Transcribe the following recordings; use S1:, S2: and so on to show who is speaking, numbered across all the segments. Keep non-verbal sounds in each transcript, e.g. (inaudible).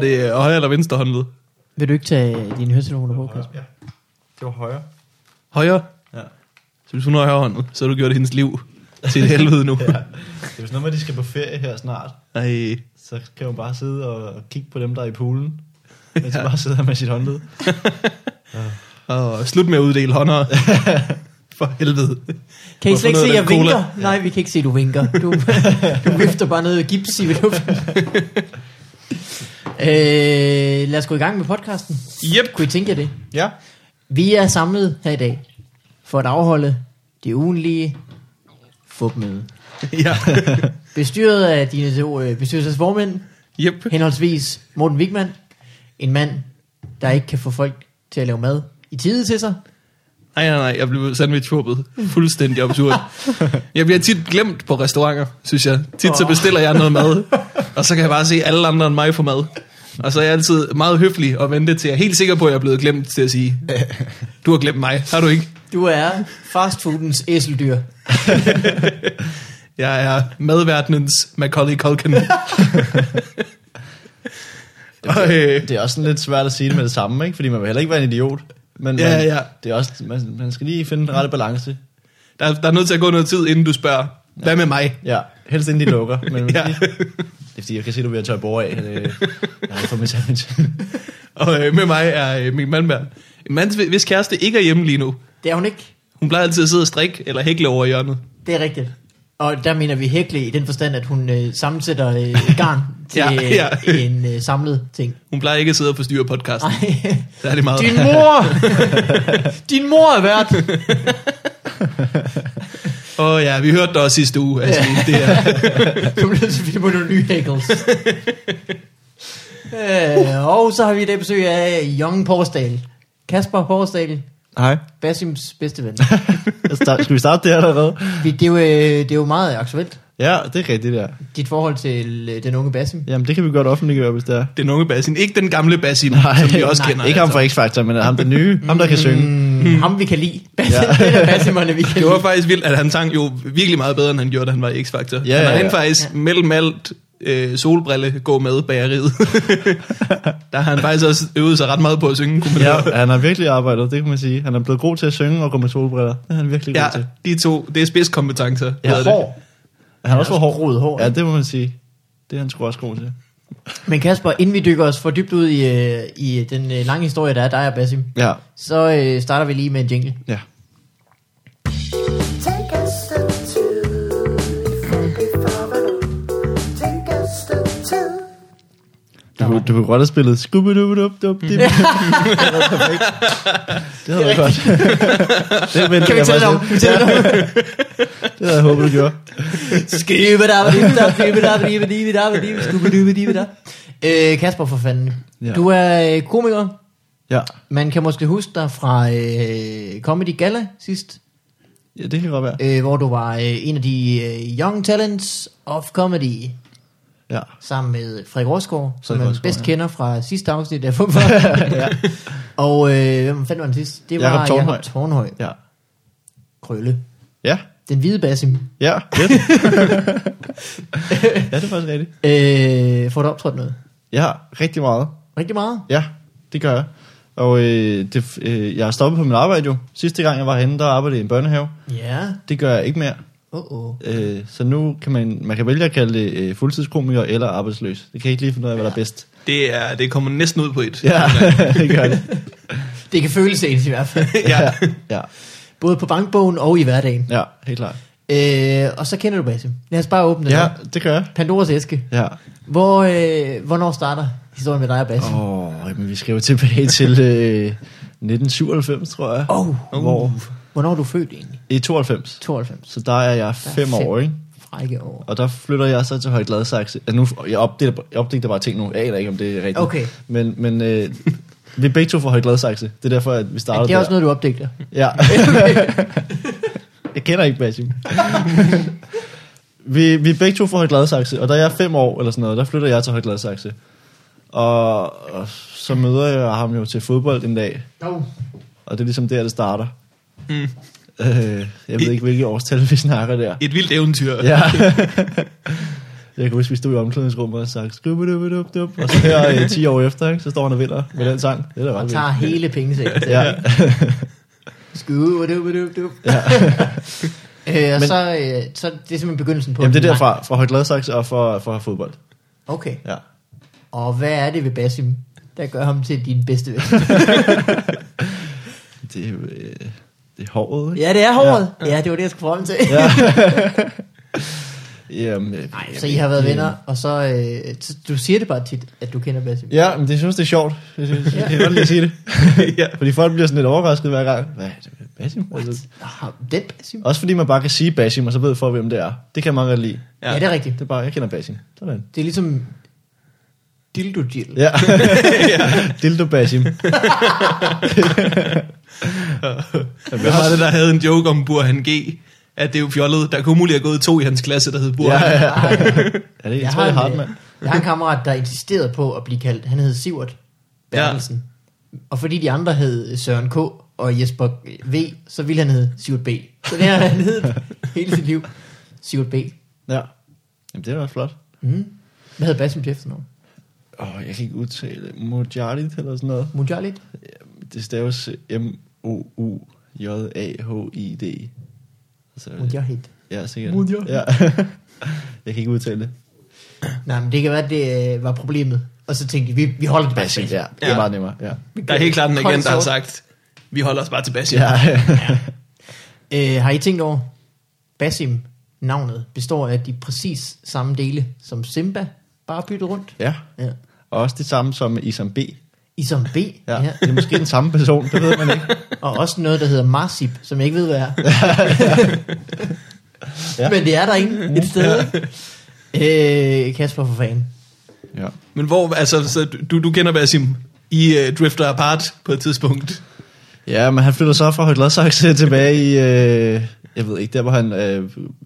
S1: det øh, højre eller venstre håndled?
S2: Vil du ikke tage dine høretelefoner på, Kasper?
S3: Ja. Det var højre.
S1: Højre?
S3: Ja.
S1: Så hvis hun har højre hånden, så har du gjort hendes liv til et helvede nu.
S3: (laughs) ja. Det er jo sådan noget med, at de skal på ferie her snart.
S1: Ej.
S3: Så kan hun bare sidde og kigge på dem, der er i poolen. Mens hun bare sidder med sit håndled.
S1: Og slut med at uddele
S3: (laughs)
S1: hånder. For helvede.
S2: Kan I
S1: Hvorfor
S2: slet ikke
S1: noget
S2: se, at
S1: af
S2: jeg
S1: den
S2: vinker? Nej, vi kan ikke se, at du vinker. Du,
S1: (laughs)
S2: du vifter bare noget gips i luften. øh, lad os gå i gang med podcasten.
S1: Yep.
S2: Kunne I tænke jer det?
S3: Ja.
S2: Vi er samlet her i dag for at afholde det ugenlige fupmøde.
S1: (laughs) Ja.
S2: Bestyret af dine to øh, bestyrelsesformænd,
S1: Yep.
S2: henholdsvis Morten Wigman, en mand, der ikke kan få folk til at lave mad i tide til sig,
S1: Nej, nej, nej, jeg blev sandwichhubbet. Fuldstændig absurd. Jeg bliver tit glemt på restauranter, synes jeg. Tit så bestiller jeg noget mad, og så kan jeg bare se alle andre end mig få mad. Og så er jeg altid meget høflig og vente til, jeg er helt sikker på, at jeg er blevet glemt til at sige, du har glemt mig, har du ikke?
S2: Du er fastfoodens æseldyr.
S1: Jeg er madverdenens Macaulay Culkin. og, øh,
S3: Det er også sådan lidt svært at sige det med det samme, ikke? Fordi man vil heller ikke være en idiot. Men
S1: Ja,
S3: man,
S1: ja.
S3: Det er også, man, man skal lige finde den rette balance.
S1: der, der er nødt til at gå noget tid, inden du spørger, hvad med mig?
S3: Ja, helst inden de lukker. (laughs) Men
S1: Ja.
S3: ja. lige, det er fordi, jeg kan se, at du er ved at tørre bord af. Øh, Jeg har fået min sandwich.
S1: Og øh, med mig er øh, Mikkel Malmberg. En mand, hvis kæreste ikke er hjemme lige nu.
S2: Det er hun ikke.
S1: Hun plejer altid at sidde og strikke eller hækle over i hjørnet.
S2: Det er rigtigt. Og der mener vi hækle i den forstand, at hun øh, sammensætter øh, garn til
S1: Ja,
S2: ja,
S1: ja.
S2: ja. en øh, samlet ting.
S1: Hun plejer ikke at sidde og forstyrre podcasten.
S2: Ej.
S1: Ej. Der er det meget.
S2: Din mor! Din mor er vært!
S1: (laughs) Åh oh, ja, vi hørte dig også sidste uge. Altså, ja. det er,
S2: Du bliver nødt til at finde på nogle nye hækkels. øh, og så har vi i dag besøg af Young Porsdal. Kasper Porsdal,
S3: Hej.
S2: Basims bedste ven.
S3: Skal vi starte der allerede?
S2: Vi- Det er jo, øh, det er jo meget aktuelt,
S3: Ja, det er rigtigt, ja.
S2: dit forhold til øh, den unge Basim.
S3: Jamen, det kan vi godt offentliggøre, hvis det er.
S1: den unge Basim. Ikke den gamle Basim, nej, som vi også nej, kender. altså.
S3: Ikke ham fra X-Factor, men ham den nye. Ham, der kan synge.
S2: Mm. Ham vi kan lide. Basim, ja. (laughs) det er Basimerne, vi kan
S1: Det
S2: lide.
S1: var faktisk vildt, at han sang jo virkelig meget bedre, end han gjorde, da han var i X-Factor. Ja,
S3: ja,
S1: han var rent
S3: ja.
S1: faktisk ja. mellem alt øh, solbrille, gå med,
S3: (laughs)
S1: bageriet. der har han faktisk også øvet sig ret meget på at synge. Kunne man høre.
S3: Ja, han har virkelig arbejdet, det kan man sige. Han er blevet god til at synge og gå med solbriller. Det er han virkelig god
S1: ja,
S3: til.
S1: de to, det er spidskompetencer.
S3: Ja,
S1: hedder det.
S2: Hår.
S3: Han er også for hård.
S2: rodet hår.
S3: Ja,
S2: Ja.
S3: det må man sige. Det er han sgu også god til.
S2: Men Kasper, inden vi dykker os for dybt ud i, øh, i den øh, lange historie, der er dig og Basim,
S3: Ja,
S2: så øh, starter vi lige med en jingle.
S3: ja.
S4: Take a step two, before Take a step two.
S3: Du, kunne- du kunne godt have spillet scooby doo doo doo doo (laughs) Det havde været perfekt. Det havde været godt. det ventede
S2: Kan vi
S3: jeg
S2: tælle
S3: faktisk
S2: dig om?
S3: lidt.
S2: Kan vi tælle dig om?
S3: Det havde jeg håbet, du gjorde.
S2: Skrive der, skrive der, skrive der, skrive der, der, skrive der, der. Øh, Kasper for fanden. Ja.
S3: Ja.
S2: Du er øh, komiker.
S3: Ja.
S2: Man kan måske huske dig fra øh, Comedy Gala sidst,
S3: ja, det kan godt være.
S2: øh, hvor du var øh, en af de øh, Young Talents of Comedy
S3: Ja.
S2: sammen med Frederik Rosgaard, som man
S3: Rosgaard,
S2: bedst
S3: ja.
S2: kender fra sidste afsnit af Fumper. ja. Og øh, hvem fandt var den sidst? Det var
S3: Jakob Tornhøj.
S2: Jakob Tornhøj.
S3: Ja.
S2: Krølle.
S3: Ja.
S2: Den hvide Basim.
S3: Ja. (laughs) Lidt. ja, det er faktisk rigtigt.
S2: Øh, får du optrådt noget?
S3: Ja, rigtig meget.
S2: Rigtig meget?
S3: Ja, det gør jeg. Og øh, det, øh, jeg har stoppet på mit arbejde jo. Sidste gang jeg var herinde, der arbejdede jeg i en børnehave.
S2: Ja.
S3: Det gør jeg ikke mere.
S2: Åh, oh, oh.
S3: Øh, så nu kan man, man kan vælge at kalde det øh, fuldtidskomiker eller arbejdsløs. Det kan jeg ikke lige finde ud af, hvad der er bedst.
S1: Det, er, det kommer næsten ud på et.
S3: (laughs) Ja, (laughs) det gør det.
S2: Det kan føles ens i hvert fald.
S1: ja.
S3: ja,
S2: Både på bankbogen og i hverdagen.
S3: ja, helt klart.
S2: Øh, og så kender du Basim. Lad os bare åbne den.
S3: Ja,
S2: op.
S3: det gør jeg.
S2: Pandoras æske.
S3: Ja.
S2: Hvor, øh, hvornår starter historien med dig og Basim?
S3: Åh, oh, men vi skal jo tilbage til øh, 1997, tror jeg.
S2: Oh.
S1: Uh,
S3: Hvor,
S2: Hvornår er du født egentlig?
S3: I 92.
S2: 92.
S3: Så der er jeg fem
S2: fem.
S3: år, ikke?
S2: Frække år.
S3: Og der flytter jeg så til Høje Gladsaxe. Altså nu, jeg opdigter, jeg opdigter bare ting nu. Jeg aner ikke, om det er rigtigt.
S2: Okay.
S3: Men, men øh, vi er begge to fra Høje Gladsaxe. Det er derfor, at vi startede
S2: Men det er
S3: der.
S2: også noget, du opdægter.
S3: Ja. (laughs) jeg kender ikke Basim. vi, vi er begge to fra Høje Gladsaxe, og da jeg er fem år eller sådan noget, der flytter jeg til Høje Gladsaxe. Og, og så møder jeg ham jo til fodbold en dag,
S2: No.
S3: og det er ligesom der, det starter.
S1: Mm.
S3: (laughs)
S1: (laughs)
S3: Øh, jeg ved ikke, hvilke årstal vi snakker der.
S1: Et vildt eventyr.
S3: Ja. Jeg kan huske, vi stod i omklædningsrummet og sang, "Skubidubidubdub", og så her øh, 10 år efter, ikke, så står han og vinder med den sang. Det er da ret
S2: Og
S3: vildt.
S2: tager hele pengesækken til.
S3: Ja,
S2: Skud, og du, du, du. (laughs) Øh, og
S3: Men-
S2: så, øh, så det er simpelthen begyndelsen på
S3: Jamen, det er
S2: en lang-
S3: derfra, fra Højt Gladsaxe og fra, fra fodbold.
S2: Okay.
S3: Ja.
S2: Og hvad er det ved Basim, der gør ham til din bedste ven?
S3: Det, er jo, øh, det er håret, ikke?
S2: ja, det er håret. Ja. ja, det var det, jeg skulle forholde til. Ja.
S3: Jamen, øh,
S2: Nej, (laughs) så I har været venner, og så, øh, så du siger det bare tit, at du kender Basim.
S3: Ja, men det synes det er sjovt. Jeg synes, jeg kan godt lige sige det. ja. Fordi folk bliver sådan lidt overrasket hver gang. Hvad er det? Basim? Altså,
S2: Har- Den Basim?
S3: også fordi man bare kan sige Basim, og så ved folk, hvem det er. Det kan man godt lide.
S2: Ja. ja, det er rigtigt.
S3: Det er bare, jeg kender Basim. Sådan.
S2: Det er ligesom dildo jill.
S3: (laughs) Ja. Dildo (laughs) Basim.
S1: Hvem var det, der havde en joke om Burhan G? At det er jo fjollet. Der kunne muligt have gået to i hans klasse, der hed
S3: Ja,
S1: Burhan. Ja.
S3: ja. Er det, jeg, tror, det er Hartmann.
S2: en, øh, jeg har en kammerat, der insisterede på at blive kaldt, han hed Sivert Bertelsen. Ja. Og fordi de andre hed Søren K. og Jesper V., så ville han hedde Sivert B. Så det har han
S3: (laughs)
S2: heddet hele sit liv. Sivert B.
S3: Ja. Jamen, det er da også flot.
S2: Mm. Hvad hedder Basim til efternavn?
S3: Åh, oh, jeg kan ikke udtale det. Mujahid eller sådan noget.
S2: Mujalit?
S3: Det staves M-O-U-J-A-H-I-D. Altså,
S2: Mujahid.
S3: ja, sikkert.
S2: Mujahid.
S3: Ja. (laughs) jeg kan ikke udtale det.
S2: Nej, men det kan være, at det øh, var problemet. Og så tænkte de, vi, vi holder det bare
S3: Basim,
S2: til.
S3: ja. Det er
S1: Ja.
S3: meget nemmere, ja.
S1: Der er helt klart en
S2: Kold
S1: agent, der har
S2: sort.
S1: sagt, vi holder os bare til Basim.
S3: Ja,
S1: Ja.
S2: Øh, har I tænkt over, Basim, navnet, består af de præcis samme dele som Simba, bare byttet rundt?
S3: ja.
S2: Ja.
S3: Og også det samme som Isam B.
S2: I som B,
S3: Ja.
S2: ja.
S3: Det er måske den samme person, det ved man ikke.
S2: Og også noget, der hedder Marsip, som jeg ikke ved, hvad er. ja.
S3: (laughs) Ja.
S2: Men det er der ikke et sted. ikke? Øh, Kasper for fanden.
S3: (laughs) Ja.
S1: Men hvor, altså, så du, du kender Basim. I uh, drifter apart på et tidspunkt.
S3: ja, men han flytter så fra Højt Lodsaxe tilbage i, øh, jeg ved ikke, der hvor han øh,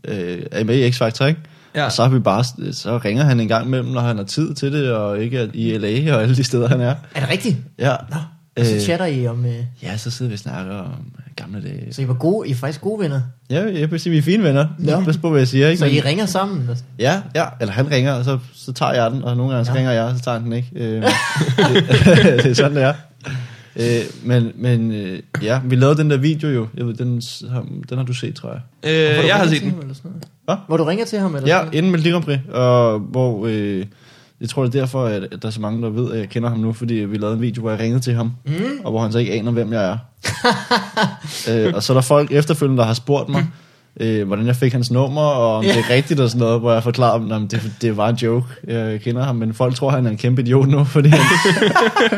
S3: øh, er med i X-Factor, ikke?
S1: Ja.
S3: Ja. Og så, har vi bare, så ringer han en gang imellem, når han har tid til det, og ikke er i LA og alle de steder, han er.
S2: Er det rigtigt?
S3: Ja.
S2: Nå, og så
S3: Øh.
S2: chatter I om... Øh,
S3: Ja, så sidder vi og snakker om gamle dage.
S2: så I var gode, I er faktisk gode venner.
S3: Ja, jeg vil sige, vi er fine venner.
S2: Ja.
S3: Ja. Pas på, hvad jeg siger, ikke?
S2: Så I
S3: Men-
S2: ringer sammen. og-
S3: Ja, ja. Eller han ringer, og så, så tager jeg den, og nogle gange så
S2: Ja.
S3: ringer jeg, og så tager han den ikke. Øh, (laughs) det, det er sådan, det er. Øh, men men øh, ja, vi lavede den der video jo. Jeg ved, den, s- har- den har du set, tror jeg.
S1: Øh,
S2: Hvor du
S1: jeg har
S2: ringer
S1: set
S2: til ham
S1: den.
S2: Eller sådan noget.
S3: Hva?
S2: Hvor du ringer til ham? Eller sådan
S3: Ja,
S2: noget?
S3: inden Melodi Grand Prix, og hvor... Øh, jeg tror, det er derfor, at at der er så mange, der ved, at jeg kender ham nu, fordi vi lavede en video, hvor jeg ringede til ham, mm. og hvor han så ikke aner,
S2: (laughs)
S3: hvem jeg er. øh, og så er der folk efterfølgende, der har spurgt mig,
S2: Mm.
S3: øh, hvordan jeg fik hans nummer, og om det er rigtigt og sådan noget, hvor jeg forklarer dem, at det, det var en joke, jeg kender ham, men folk tror, han er en kæmpe idiot nu, fordi
S2: (laughs)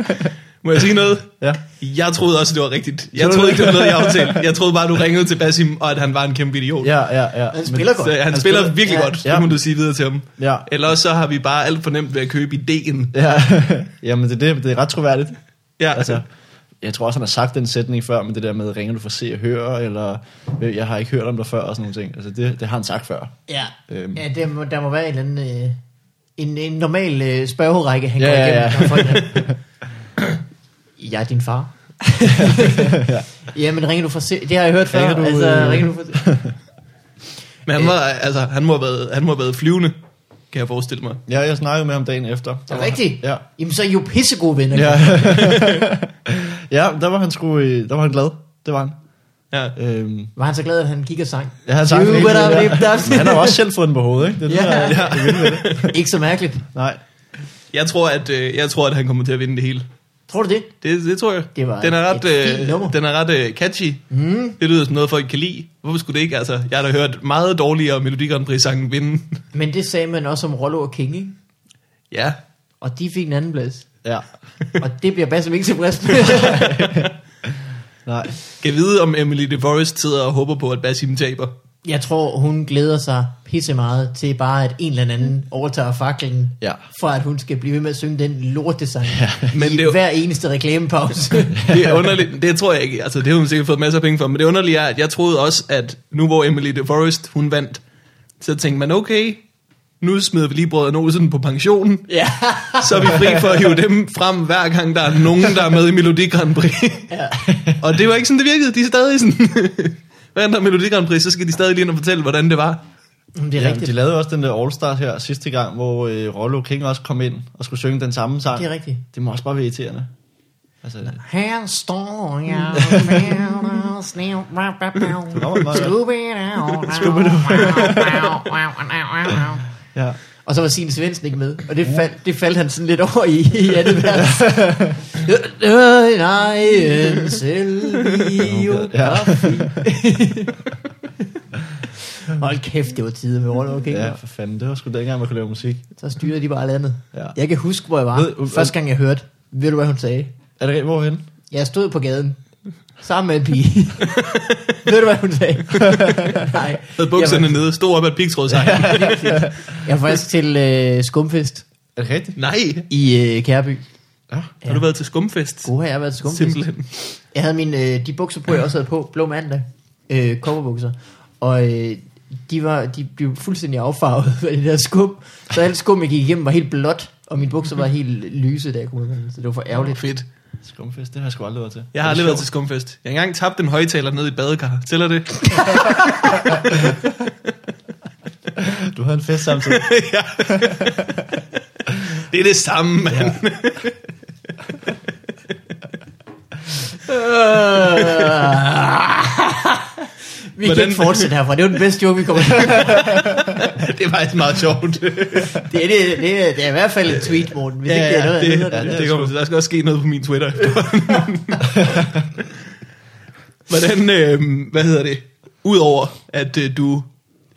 S3: han,
S1: Må jeg sige noget?
S3: ja,
S1: Jeg troede også, det var rigtigt. Jeg
S3: du
S1: troede
S3: det?
S1: ikke, det var noget, jeg aftalte. Jeg troede bare, du ringede til Basim, og at han var en kæmpe idiot. Ja.
S3: ja, ja, ja.
S2: Han spiller
S1: Så han,
S2: godt.
S1: han spiller,
S3: spiller-
S1: virkelig
S2: ja,
S1: godt.
S3: ja.
S1: Det må du sige videre til ham.
S3: Ja, (laughs)
S1: Ellers så har vi bare alt for nemt ved at købe ideen.
S3: ja. Jamen, det, er det, det er ret troværdigt.
S1: Ja,
S3: (laughs) Altså, jeg tror også, han har sagt den sætning før, men det der med, ringer du for se og høre, eller øh, jeg har ikke hørt om dig før, og sådan nogle ting. Altså, det, det har han sagt før.
S2: Ja,
S3: Øhm.
S2: ja der, må, der må være en, eller anden, øh, en, en normal øh, spørgerække, han
S3: Ja,
S2: går
S3: ja,
S2: igennem.
S3: ja.
S2: når folk ringer.
S3: (laughs)
S2: Jeg er din far. (laughs) ja, men ringer du fra... Se- Det har jeg hørt før.
S3: Ringer
S2: Du,
S3: du,
S2: altså,
S3: øh,
S2: ringer du fra...
S1: men han, var, altså, han, må have været, han må have været flyvende, kan jeg forestille mig.
S3: Ja, jeg snakkede med ham dagen efter. Der var-
S2: Rigtigt?
S3: Ja.
S2: Jamen, så er I jo pissegode venner.
S3: Ja. (laughs) ja, der var han sgu, øh, der var han glad. Det var han.
S1: Ja.
S3: Øhm,
S2: Var han så glad, at han gik og sang?
S3: ja, han, sang
S2: Jo,
S3: den hele
S2: hvad der
S3: tiden,
S2: er
S3: ja.
S2: det, der er-
S3: Men han har jo også selv fået den på hovedet, ikke? Det,
S2: Ja.
S3: ja. Der,
S1: Ja.
S3: det vilde ved det.
S2: Ikke så mærkeligt.
S3: Nej.
S1: Jeg tror, at, øh, jeg tror, at han kommer til at vinde det hele.
S2: Tror du det?
S1: Det, det tror jeg.
S2: Det var
S1: den er
S2: et-
S1: ret,
S2: et fint nummer.
S1: øh, den er ret øh, catchy.
S2: Mm.
S1: Det lyder som noget, folk kan lide. Hvorfor skulle det ikke? Altså, jeg har da hørt meget dårligere Melodi Grand Prix-sangen vinde.
S2: Men det sagde man også om Rollo og King, ikke?
S1: (laughs) ja.
S2: Og de fik en anden plads.
S3: Ja.
S2: Og det bliver Basim ikke tilfreds med.
S3: Nej.
S1: Kan vide, om Emily DeForest sidder og håber på, at Basim taber.
S2: Jeg tror, hun glæder sig pisse meget til bare, at en eller anden overtager faklen,
S3: Ja.
S2: for at hun skal blive ved med at synge den lortesang ja.
S1: Men
S2: men i
S1: det er jo-
S2: hver eneste reklamepause.
S1: Det er underligt. Det tror jeg ikke. Altså, det har hun sikkert fået masser af penge for. Men det underlige er, at jeg troede også, at nu hvor Emily DeForest, hun vandt, så tænkte man, okay, nu smider vi lige brødrene Olsen på pensionen,
S2: ja.
S1: så er vi fri for at hive dem frem, hver gang der er nogen, der er med i Melodi Grand Prix.
S2: ja.
S1: Og det var ikke sådan, det virkede. De er stadig sådan... Hver gang der er Melodi Grand Prix, så skal de stadig lige ind og fortælle, hvordan det var.
S2: Jamen, det er
S3: Jamen,
S2: rigtigt.
S3: de lavede jo også den der All Stars her sidste gang, hvor øh, Rollo King også kom ind og skulle synge den samme sang.
S2: Det er rigtigt.
S3: Det må også bare være irriterende. Altså,
S2: Her står jeg med noget snev.
S3: meget godt.
S2: Scooby-Doo.
S3: ja.
S2: Og så var Signe Svendsen ikke med, og det, fald, det faldt han sådan lidt over i, i andet
S3: (laughs)
S2: vers. Øh, Nej, en selvbio
S3: Ja.
S2: Hold kæft, det var tider med Rollo King.
S3: ja, for fanden. Det var sgu dengang, man kunne lave musik.
S2: Så styrede de bare landet.
S3: Ja.
S2: Jeg kan huske, hvor jeg var.
S3: Ved- øh,
S2: Første gang jeg hørte, ved du hvad hun sagde?
S3: Er det rigtigt, hvorhen?
S2: Jeg stod på gaden sammen med en
S3: (laughs)
S2: pige. Ved du, hvad hun sagde? Nej.
S1: Havde bukserne
S2: Jeg
S1: nede, stod op ad pigtråd sig.
S2: var, jeg var faktisk til øh, skumfest
S3: Er det rigtigt?
S1: Nej,
S2: i øh, Kærby.
S3: Ja.
S1: har du været til skumfest?
S2: Gode her, jeg har været til skumfest.
S1: Simpelthen.
S2: Jeg havde mine, øh, de bukser på, jeg også havde på, blå mandag, øh, kobberbukser, og øh, de, var, de blev fuldstændig affarvet (laughs) af det der skum, så alt skum, jeg gik igennem, var helt blåt, og mine bukser var helt lyse, da jeg kom ud, af den, så det var for ærgerligt.
S1: Fedt.
S3: Skumfest, det har jeg sgu aldrig været til.
S1: Jeg har
S3: Er det
S1: aldrig været til
S3: sjovt?
S1: skumfest. Jeg har engang tabt en højtaler ned i et badekar. Tæller det?
S3: Du havde en fest samtidig.
S1: ja. Det er det samme, mand. Ja.
S3: Øh.
S2: (laughs) Vi kan
S1: Hvordan-
S2: ikke fortsætte herfra, det var den bedste joke, vi
S3: (laughs)
S2: kommer til.
S1: (laughs) Det er faktisk meget sjovt.
S2: Det, er- det, er- det, er- det er i hvert fald et tweet, Morten, hvis ja, ikke det er noget,
S1: det,
S2: det,
S1: ja,
S2: hedder det.
S1: det, det kommer, til. der skal også ske noget på min Twitter. Hvordan, øh, hvad hedder det? Udover at øh, du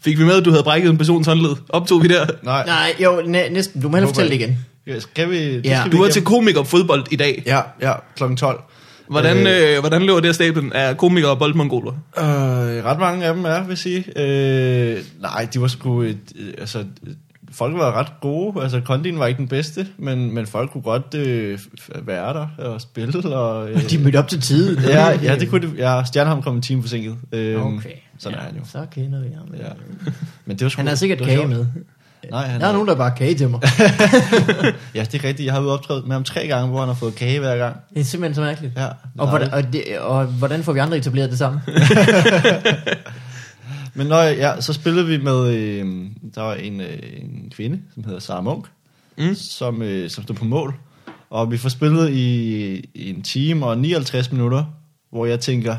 S1: fik vi med, at du havde brækket en persons håndled. Optog vi der.
S3: Nej. Nej.
S2: Nej, jo, næ- næsten. Du må hellere
S3: Håber
S2: fortælle det
S3: jeg.
S2: igen.
S3: Ja, skal vi, det
S2: Ja.
S3: skal
S1: Du
S3: vi
S1: var
S3: igennem.
S1: til komiker fodbold i dag.
S3: Ja, ja, kl. 12.
S1: Hvordan, øh, hvordan løber det af stablen af komikere og boldmongoler?
S3: Øh, ret mange af dem er, vil jeg sige. Øh, nej, de var sgu... Et, øh, altså, øh, folk var ret gode. Altså, kondien var ikke den bedste, men, men folk kunne godt øh, f- være der og spille. Og, øh,
S2: De mødte op til tiden.
S3: ja, ja, det kunne de. Ja, Stjernholm kom en time forsinket. Øh,
S2: Okay.
S3: Sådan
S2: ja,
S3: er han jo.
S2: Så kender vi ham.
S3: Ja. Men det var sgu,
S2: Han har sikkert
S3: det var
S2: kage
S3: sjovt.
S2: med.
S3: Nej, han
S2: Der er nogen, der bare kage til
S3: (laughs)
S2: mig.
S3: Ja, det er rigtigt. Jeg har været optrædet med ham tre gange, hvor han har fået kage hver gang.
S2: Det er simpelthen så mærkeligt.
S3: Ja,
S2: Og,
S3: nej.
S2: hvordan, og, det, og hvordan får vi andre etableret det samme?
S3: Men når, ja, så spillede vi med, øh, der var en, øh, en kvinde, som hedder Sara Munk, mm. som, øh, som stod på mål. Og vi får spillet i, i en time og 59 minutter, hvor jeg tænker,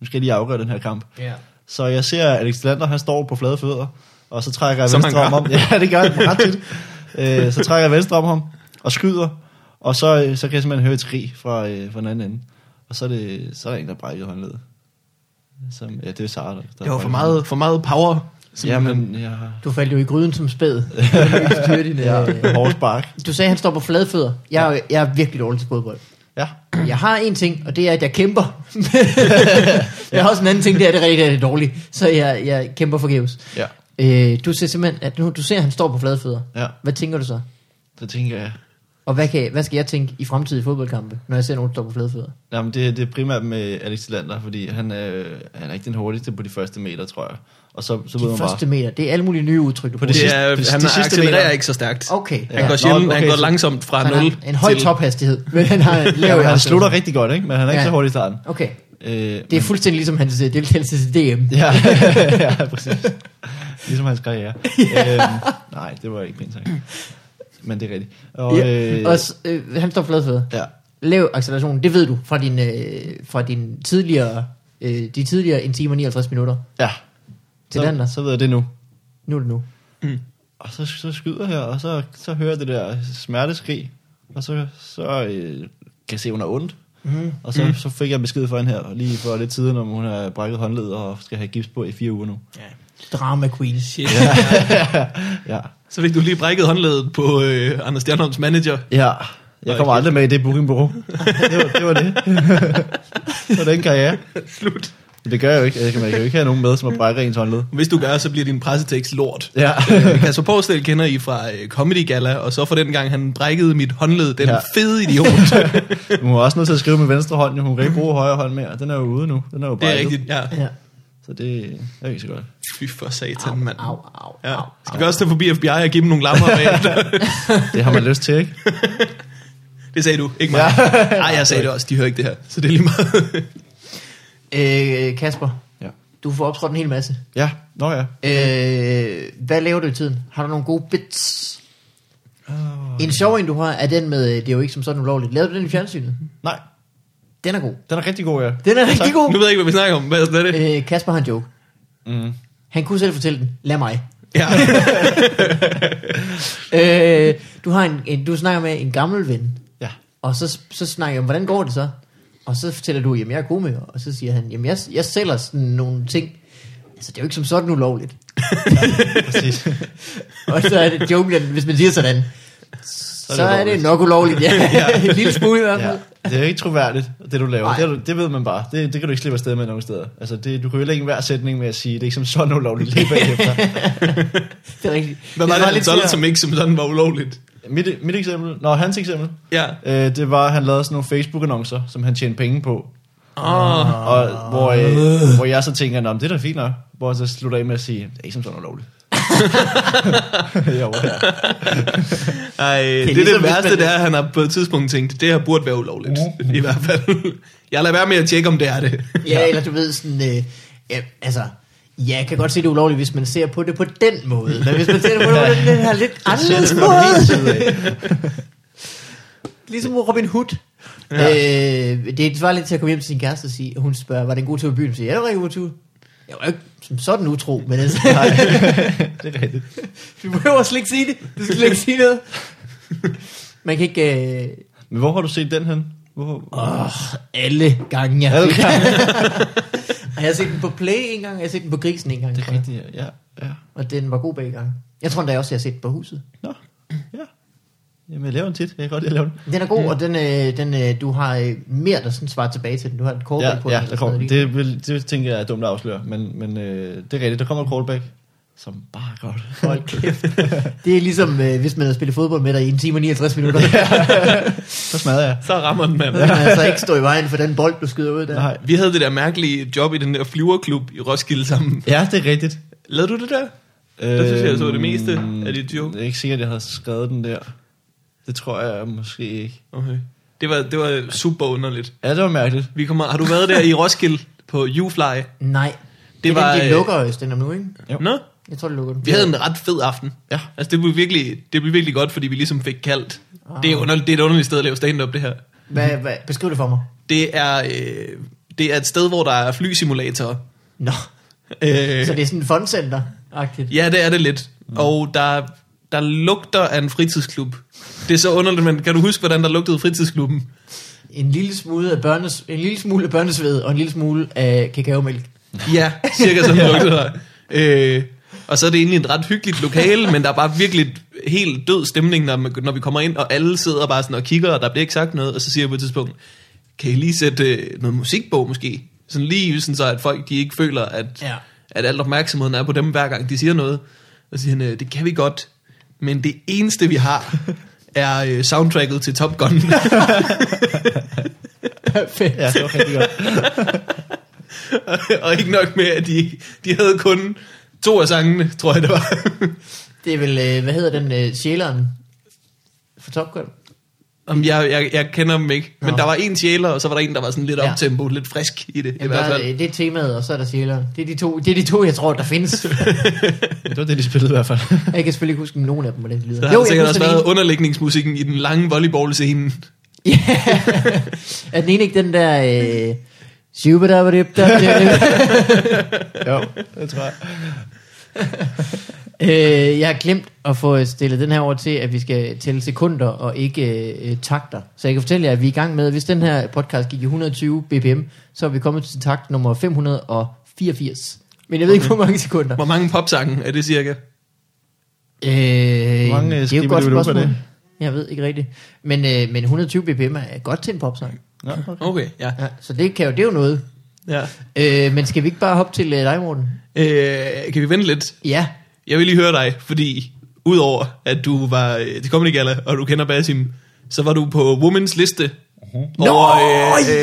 S3: nu skal jeg lige afgøre den her kamp.
S2: Ja.
S3: Så jeg ser, at Alex Lander, han står på flade fødder, og så trækker jeg
S1: Som
S3: venstre
S1: han
S3: om
S1: gør.
S3: ham. (laughs) Ja, det gør han ret tit. Øh, så trækker jeg venstre om ham og skyder, og så, øh, så kan jeg simpelthen høre et skrig fra, øh, fra den anden ende. Og så er, det, så er der en, der brækker håndledet. Som, ja, det er Sara, der, der
S1: Det var for
S3: brækker
S1: meget, for meget power.
S3: Jamen, jeg har
S2: Du faldt jo i gryden som
S3: (laughs)
S2: spæd. Du kan ikke styre dine, øh,
S3: hårdspark.
S2: Du sagde, at han står på fladfødder. Jeg, er- jeg er virkelig dårlig til fodbold.
S3: (laughs) Ja.
S2: Jeg har en ting, og det er, at jeg
S3: (laughs)
S2: kæmper. jeg har også en anden ting, det er, at det er rigtig, rigtig dårligt. Så jeg, jeg kæmper forgæves.
S3: Ja.
S2: Øh, du ser simpelthen, at nu, du ser, at han står på fladfødder.
S3: Ja.
S2: Hvad tænker du så?
S3: Så tænker jeg,
S2: Og hvad, kan, hvad skal jeg tænke i fremtidige fodboldkampe, når jeg ser nogen, der står på fladfødder?
S3: jamen det, det er primært med Alex Lander, fordi han, øh, han er ikke den hurtigste på de første meter, tror jeg. Og så, så ved
S2: De
S3: man
S2: første
S3: bare...
S2: meter, det er alle mulige nye udtryk, du
S3: På
S2: bruger.
S3: det
S1: Det
S3: sidste-
S1: er,
S3: det-
S1: han
S3: det sidste
S1: accelererer
S3: meter.
S1: ikke så stærkt.
S2: Oh, Okay.
S1: Han
S3: Ja.
S1: går
S3: Nå,
S1: sjældent,
S3: okay,
S1: han går
S3: så-
S1: langsomt
S2: Så
S1: fra
S2: han har
S1: 0
S2: en, en høj
S1: til...
S2: tophastighed, men han har en lav
S3: Ja, men han
S2: hastighed.
S3: slutter rigtig godt, ikke? Men han er ikke
S2: Ja.
S3: så hurtig i starten.
S2: Okay.
S3: Øh,
S2: Det er fuldstændig ligesom hans øh, deltagelse til DM.
S3: Ja, (laughs) ja præcis. Ligesom hans
S2: (laughs)
S3: karriere. øhm, nej, det var ikke pænt sagt. Men det er rigtigt. Og,
S2: Ja. Og s- øh, han står på fladfødder.
S3: ja,
S2: Lav acceleration, det ved du fra din, øh, fra din tidligere, øh, de tidligere 1 time og 59 minutter
S3: ja.
S2: til
S3: så,
S2: Lander.
S3: så ved jeg det nu.
S2: Nu er det nu.
S3: Og så, så skyder jeg, og så, så hører jeg det der smerteskrig, og så, så øh, kan jeg se, hun er ondt.
S1: Mhm.
S3: Mm. Og så, mm. så fik jeg besked fra hende her, lige for lidt tiden, om hun har brækket håndledet og skal have gips på i fire uger nu.
S2: Drama queen.
S1: Shit.
S3: Ja,
S1: Så fik du lige brækket håndledet på øh, Anders Stjernholms manager.
S3: ja. jeg kommer
S1: Okay.
S3: aldrig med i
S1: (laughs)
S3: det bookingbureau. det, var, det var det. det var den karriere.
S1: Slut.
S3: Men Det gør jeg jo ikke. Jeg kan, man kan jo ikke have nogen med, som har brækket ens håndled.
S1: Hvis du gør, så bliver din pressetekst lort.
S3: Ja.
S1: (laughs) Øh, Kasper Porsdal kender I fra øh, Comedy Gala, og så for den gang, han brækkede mit håndled, den
S3: Ja.
S1: ja. fede
S2: (laughs)
S1: idiot.
S3: (laughs) Hun er også nødt til at skrive med venstre hånd, jo. hun kan ikke bruge højre hånd mere. Den er jo ude nu. Den er jo
S1: Det er
S3: brækket.
S1: rigtigt, ja.
S2: Ja.
S3: Så det er jo ikke så godt.
S1: Fy for satan, mand.
S2: Au, au,
S1: Ja.
S2: au.
S1: Skal vi også tage forbi FBI og give dem nogle lammer bagefter?
S2: (laughs)
S3: Det har man lyst til, ikke?
S1: Det sagde du, ikke mig. Nej, jeg sagde det også, de hører ikke det her. Så det er lige meget.
S2: Øh, Kasper,
S3: Ja.
S2: Du får optrådt en hel masse.
S3: Ja, nå ja.
S2: Øh, hvad laver du i tiden? Har du nogle gode bits? Oh, en sjov en, du har, er den med, øh, det er jo ikke som sådan ulovligt. Lavede du den i fjernsynet?
S3: Nej,
S2: Den er god.
S3: den er rigtig god, ja.
S2: Den er rigtig god.
S1: Nu ved jeg ikke, hvad vi snakker om. Hvad
S2: (laughs)
S1: er det?
S2: Øh, Kasper har en joke.
S3: Mm.
S2: Han kunne selv fortælle den. Lad mig.
S1: Ja.
S2: Øh, du, har en, en, du snakker med en gammel ven,
S3: Ja.
S2: og så, så snakker jeg om, hvordan går det så? Og så fortæller du, jamen jeg er komiker, og så siger han, jamen jeg, jeg sælger sådan nogle ting. Altså det er jo ikke som sådan ulovligt.
S3: Præcis.
S2: Og så er det joken, at hvis man siger sådan, så, så er det
S3: ulovligt.
S2: nok ulovligt. Ja, en lille smule i hvert fald.
S3: ja. Det er jo ikke troværdigt, det du laver.
S2: Nej.
S3: Det, er du- det, ved man bare. Det, det kan du ikke slippe afsted med nogen steder. Altså, det, du kan jo heller ikke hver sætning med at sige, det er ikke som sådan ulovligt lige bagefter.
S2: Det er rigtigt.
S1: Hvad var
S2: Det er
S1: det,
S2: bare
S1: han
S2: lidt
S1: solgte,
S2: mere-
S1: som ikke som sådan var ulovligt?
S3: mit, mit eksempel, nå, hans eksempel,
S1: Ja.
S3: øh, det var, at han lavede sådan nogle Facebook-annoncer, som han tjente penge på.
S2: Ah.
S1: Åh. Oh.
S3: Og hvor, øh, hvor jeg så tænker, nå, men det er da fint nok. Hvor jeg så slutter af med at sige, det er ikke som sådan ulovligt. jo, ja.
S1: Ej, det, det,
S2: ligesom,
S1: det
S2: hvis
S1: værste,
S2: man- Mm.
S1: det er, at han har på et tidspunkt tænkt, det her burde være ulovligt. I hvert fald. Jeg lader være med at tjekke, om det er det.
S2: Ja, eller du ved sådan, øh, ja, altså, ja, jeg kan godt se det er ulovligt, hvis man ser på det på den måde. Men hvis man ser det
S3: (laughs)
S2: på den, den her lidt anderledes
S3: Min
S2: måde.
S3: side af.
S2: (laughs) Ligesom Robin Hood. Ja. Øh, det er svarer lidt til at komme hjem til sin kæreste og sige, og hun spørger, var det en god tur i byen? Så siger, jeg, ja, det var en god tur. Jeg var ikke som sådan utro, men
S3: (laughs)
S2: altså,
S3: det er rigtigt.
S2: (laughs) du behøver slet ikke sige det. Du skal slet ikke sige noget. Man kan ikke... Øh,
S3: Men hvor har du set den hen? Hvor,
S2: åh, alle gange, jeg
S3: Alle
S2: fik. Og jeg har set den på Play en gang, og jeg har set den på Grisen en gang.
S3: det er rigtigt, ja. ja.
S2: Og den var god begge gange. Jeg tror endda også, jeg har set den på huset.
S3: Nå, ja. Jamen, jeg laver den tit. Jeg kan godt lide at lave den.
S2: Den er god, mm. og den, øh, den, øh, du har øh, mere, der sådan svarer tilbage til den. Du har et callback
S3: Ja,
S2: på
S3: ja
S2: den.
S3: der kommer, det, vil, det tænker jeg er dumt at afsløre, men, men øh, det er rigtigt. Der kommer et callback, som bare er
S1: (laughs)
S3: godt.
S2: Hold kæft. Det er ligesom, øh, hvis man har spillet fodbold med dig i en time og
S1: (laughs)
S2: 59 minutter.
S3: Så smadrer jeg.
S1: Så rammer den mand.
S2: Så kan man altså ikke stå i vejen for den bold, du skyder ud der.
S3: Nej.
S1: Vi havde det der mærkelige job i den der flyverklub i Roskilde sammen.
S3: Ja, det er rigtigt. Øhm,
S1: Lavede du det der? Der synes jeg, jeg så det meste af dit joke.
S3: Jeg er ikke sikker, at jeg havde skrevet den der. Det tror jeg måske ikke.
S1: Okay. Det var, det var super underligt.
S3: Ja, det var mærkeligt.
S1: Vi kommer, har du været der i Roskilde på YouFly?
S2: Nej. Det, det
S1: Det
S2: var,
S1: var,
S2: den, de
S1: øh,
S2: lukker øh, den om nu, ikke?
S3: Jo.
S1: Nå?
S2: Jeg tror, det lukker den.
S1: Vi havde en ret fed aften.
S3: Ja.
S1: Altså, det blev virkelig, det blev virkelig godt, fordi vi ligesom fik kaldt. Det er,
S3: Ah.
S1: underligt, det er et underligt sted at lave stand-up, det her.
S2: Hvad, hvad, beskriv det for mig.
S1: Det er, øh, det er et sted, hvor der er flysimulatorer.
S2: Nå.
S1: Øh,
S2: Så det er sådan en fondcenter-agtigt.
S1: ja, det er det lidt. Og der, der lugter af en fritidsklub. Det er så underligt, men kan du huske, hvordan der lugtede fritidsklubben?
S2: En lille smule af børnes, en lille smule af børnesved og en lille smule af
S1: (laughs)
S2: kakaomælk.
S1: Ja, cirka sådan lugtede der. Øh, og så er det egentlig et ret hyggeligt lokale, men der er bare virkelig et helt død stemning, når, man, når vi kommer ind, og alle sidder bare sådan og kigger, og der bliver ikke sagt noget, og så siger jeg på et tidspunkt, kan I lige sætte øh, noget musik på måske? Sådan lige sådan så, at folk de ikke føler, at,
S2: Ja.
S1: ja. at alt opmærksomheden er på dem, hver gang de siger noget. Og så siger han, øh, det kan vi godt, men det eneste vi har, er øh, soundtracket til Top Gun. (laughs)
S2: Perfekt.
S3: Ja, det var rigtig
S1: (laughs)
S3: godt.
S1: og ikke nok med, at de, de havde kun to af sangene, tror jeg det var.
S2: Det er vel, øh, hvad hedder den, øh, sjæleren fra Top Gun?
S1: Jamen, jeg, jeg, jeg kender dem ikke. Men
S2: Nå.
S1: der var en sjæler, og så var der en, der var sådan lidt
S2: Ja.
S1: optempo, lidt frisk i det. I
S2: Jamen,
S1: hvert
S2: der
S1: fald.
S2: er, øh, det er temaet, og så er der sjæleren. Det er de to, det er de to jeg tror, der findes.
S3: Det var det, de spillede i hvert fald.
S2: Jeg kan selvfølgelig ikke huske nogen af dem, hvordan de lyder.
S1: Der har jo,
S2: jeg
S1: sikkert også
S2: husker den
S1: været
S2: (laughs) ene.
S1: underlægningsmusikken i den lange volleyballscene.
S2: Ja. er den ene ikke den der... Øh, Shubadabadibda.
S3: jo, det tror jeg.
S2: (laughs) øh, jeg har glemt at få stillet den her over til, at vi skal tælle sekunder og ikke øh, takter. Så jeg kan fortælle jer, at vi er i gang med, hvis den her podcast gik i 120 bpm, så er vi kommet til takt nummer 584. Men jeg ved ikke, hvor mange sekunder.
S1: Hvor mange popsange er det cirka?
S2: Øh,
S3: mange
S2: det er jo et godt
S3: skibidibidubber
S2: spørgsmål.
S3: det?
S2: Jeg ved ikke rigtigt. Men, øh, men 120 bpm er godt til en popsang.
S3: Nå, okay.
S1: Okay, ja.
S2: Ja, så det, kan jo, det er jo noget.
S1: ja.
S2: Øh, men skal vi ikke bare hoppe til øh, dig, Morten?
S1: Øh, kan vi vente lidt?
S2: Ja.
S1: Jeg vil lige høre dig, fordi udover at du var øh, til Comedy Gala, og du kender Basim, så var du på Womens liste uh-huh.
S2: Mhm. Nå,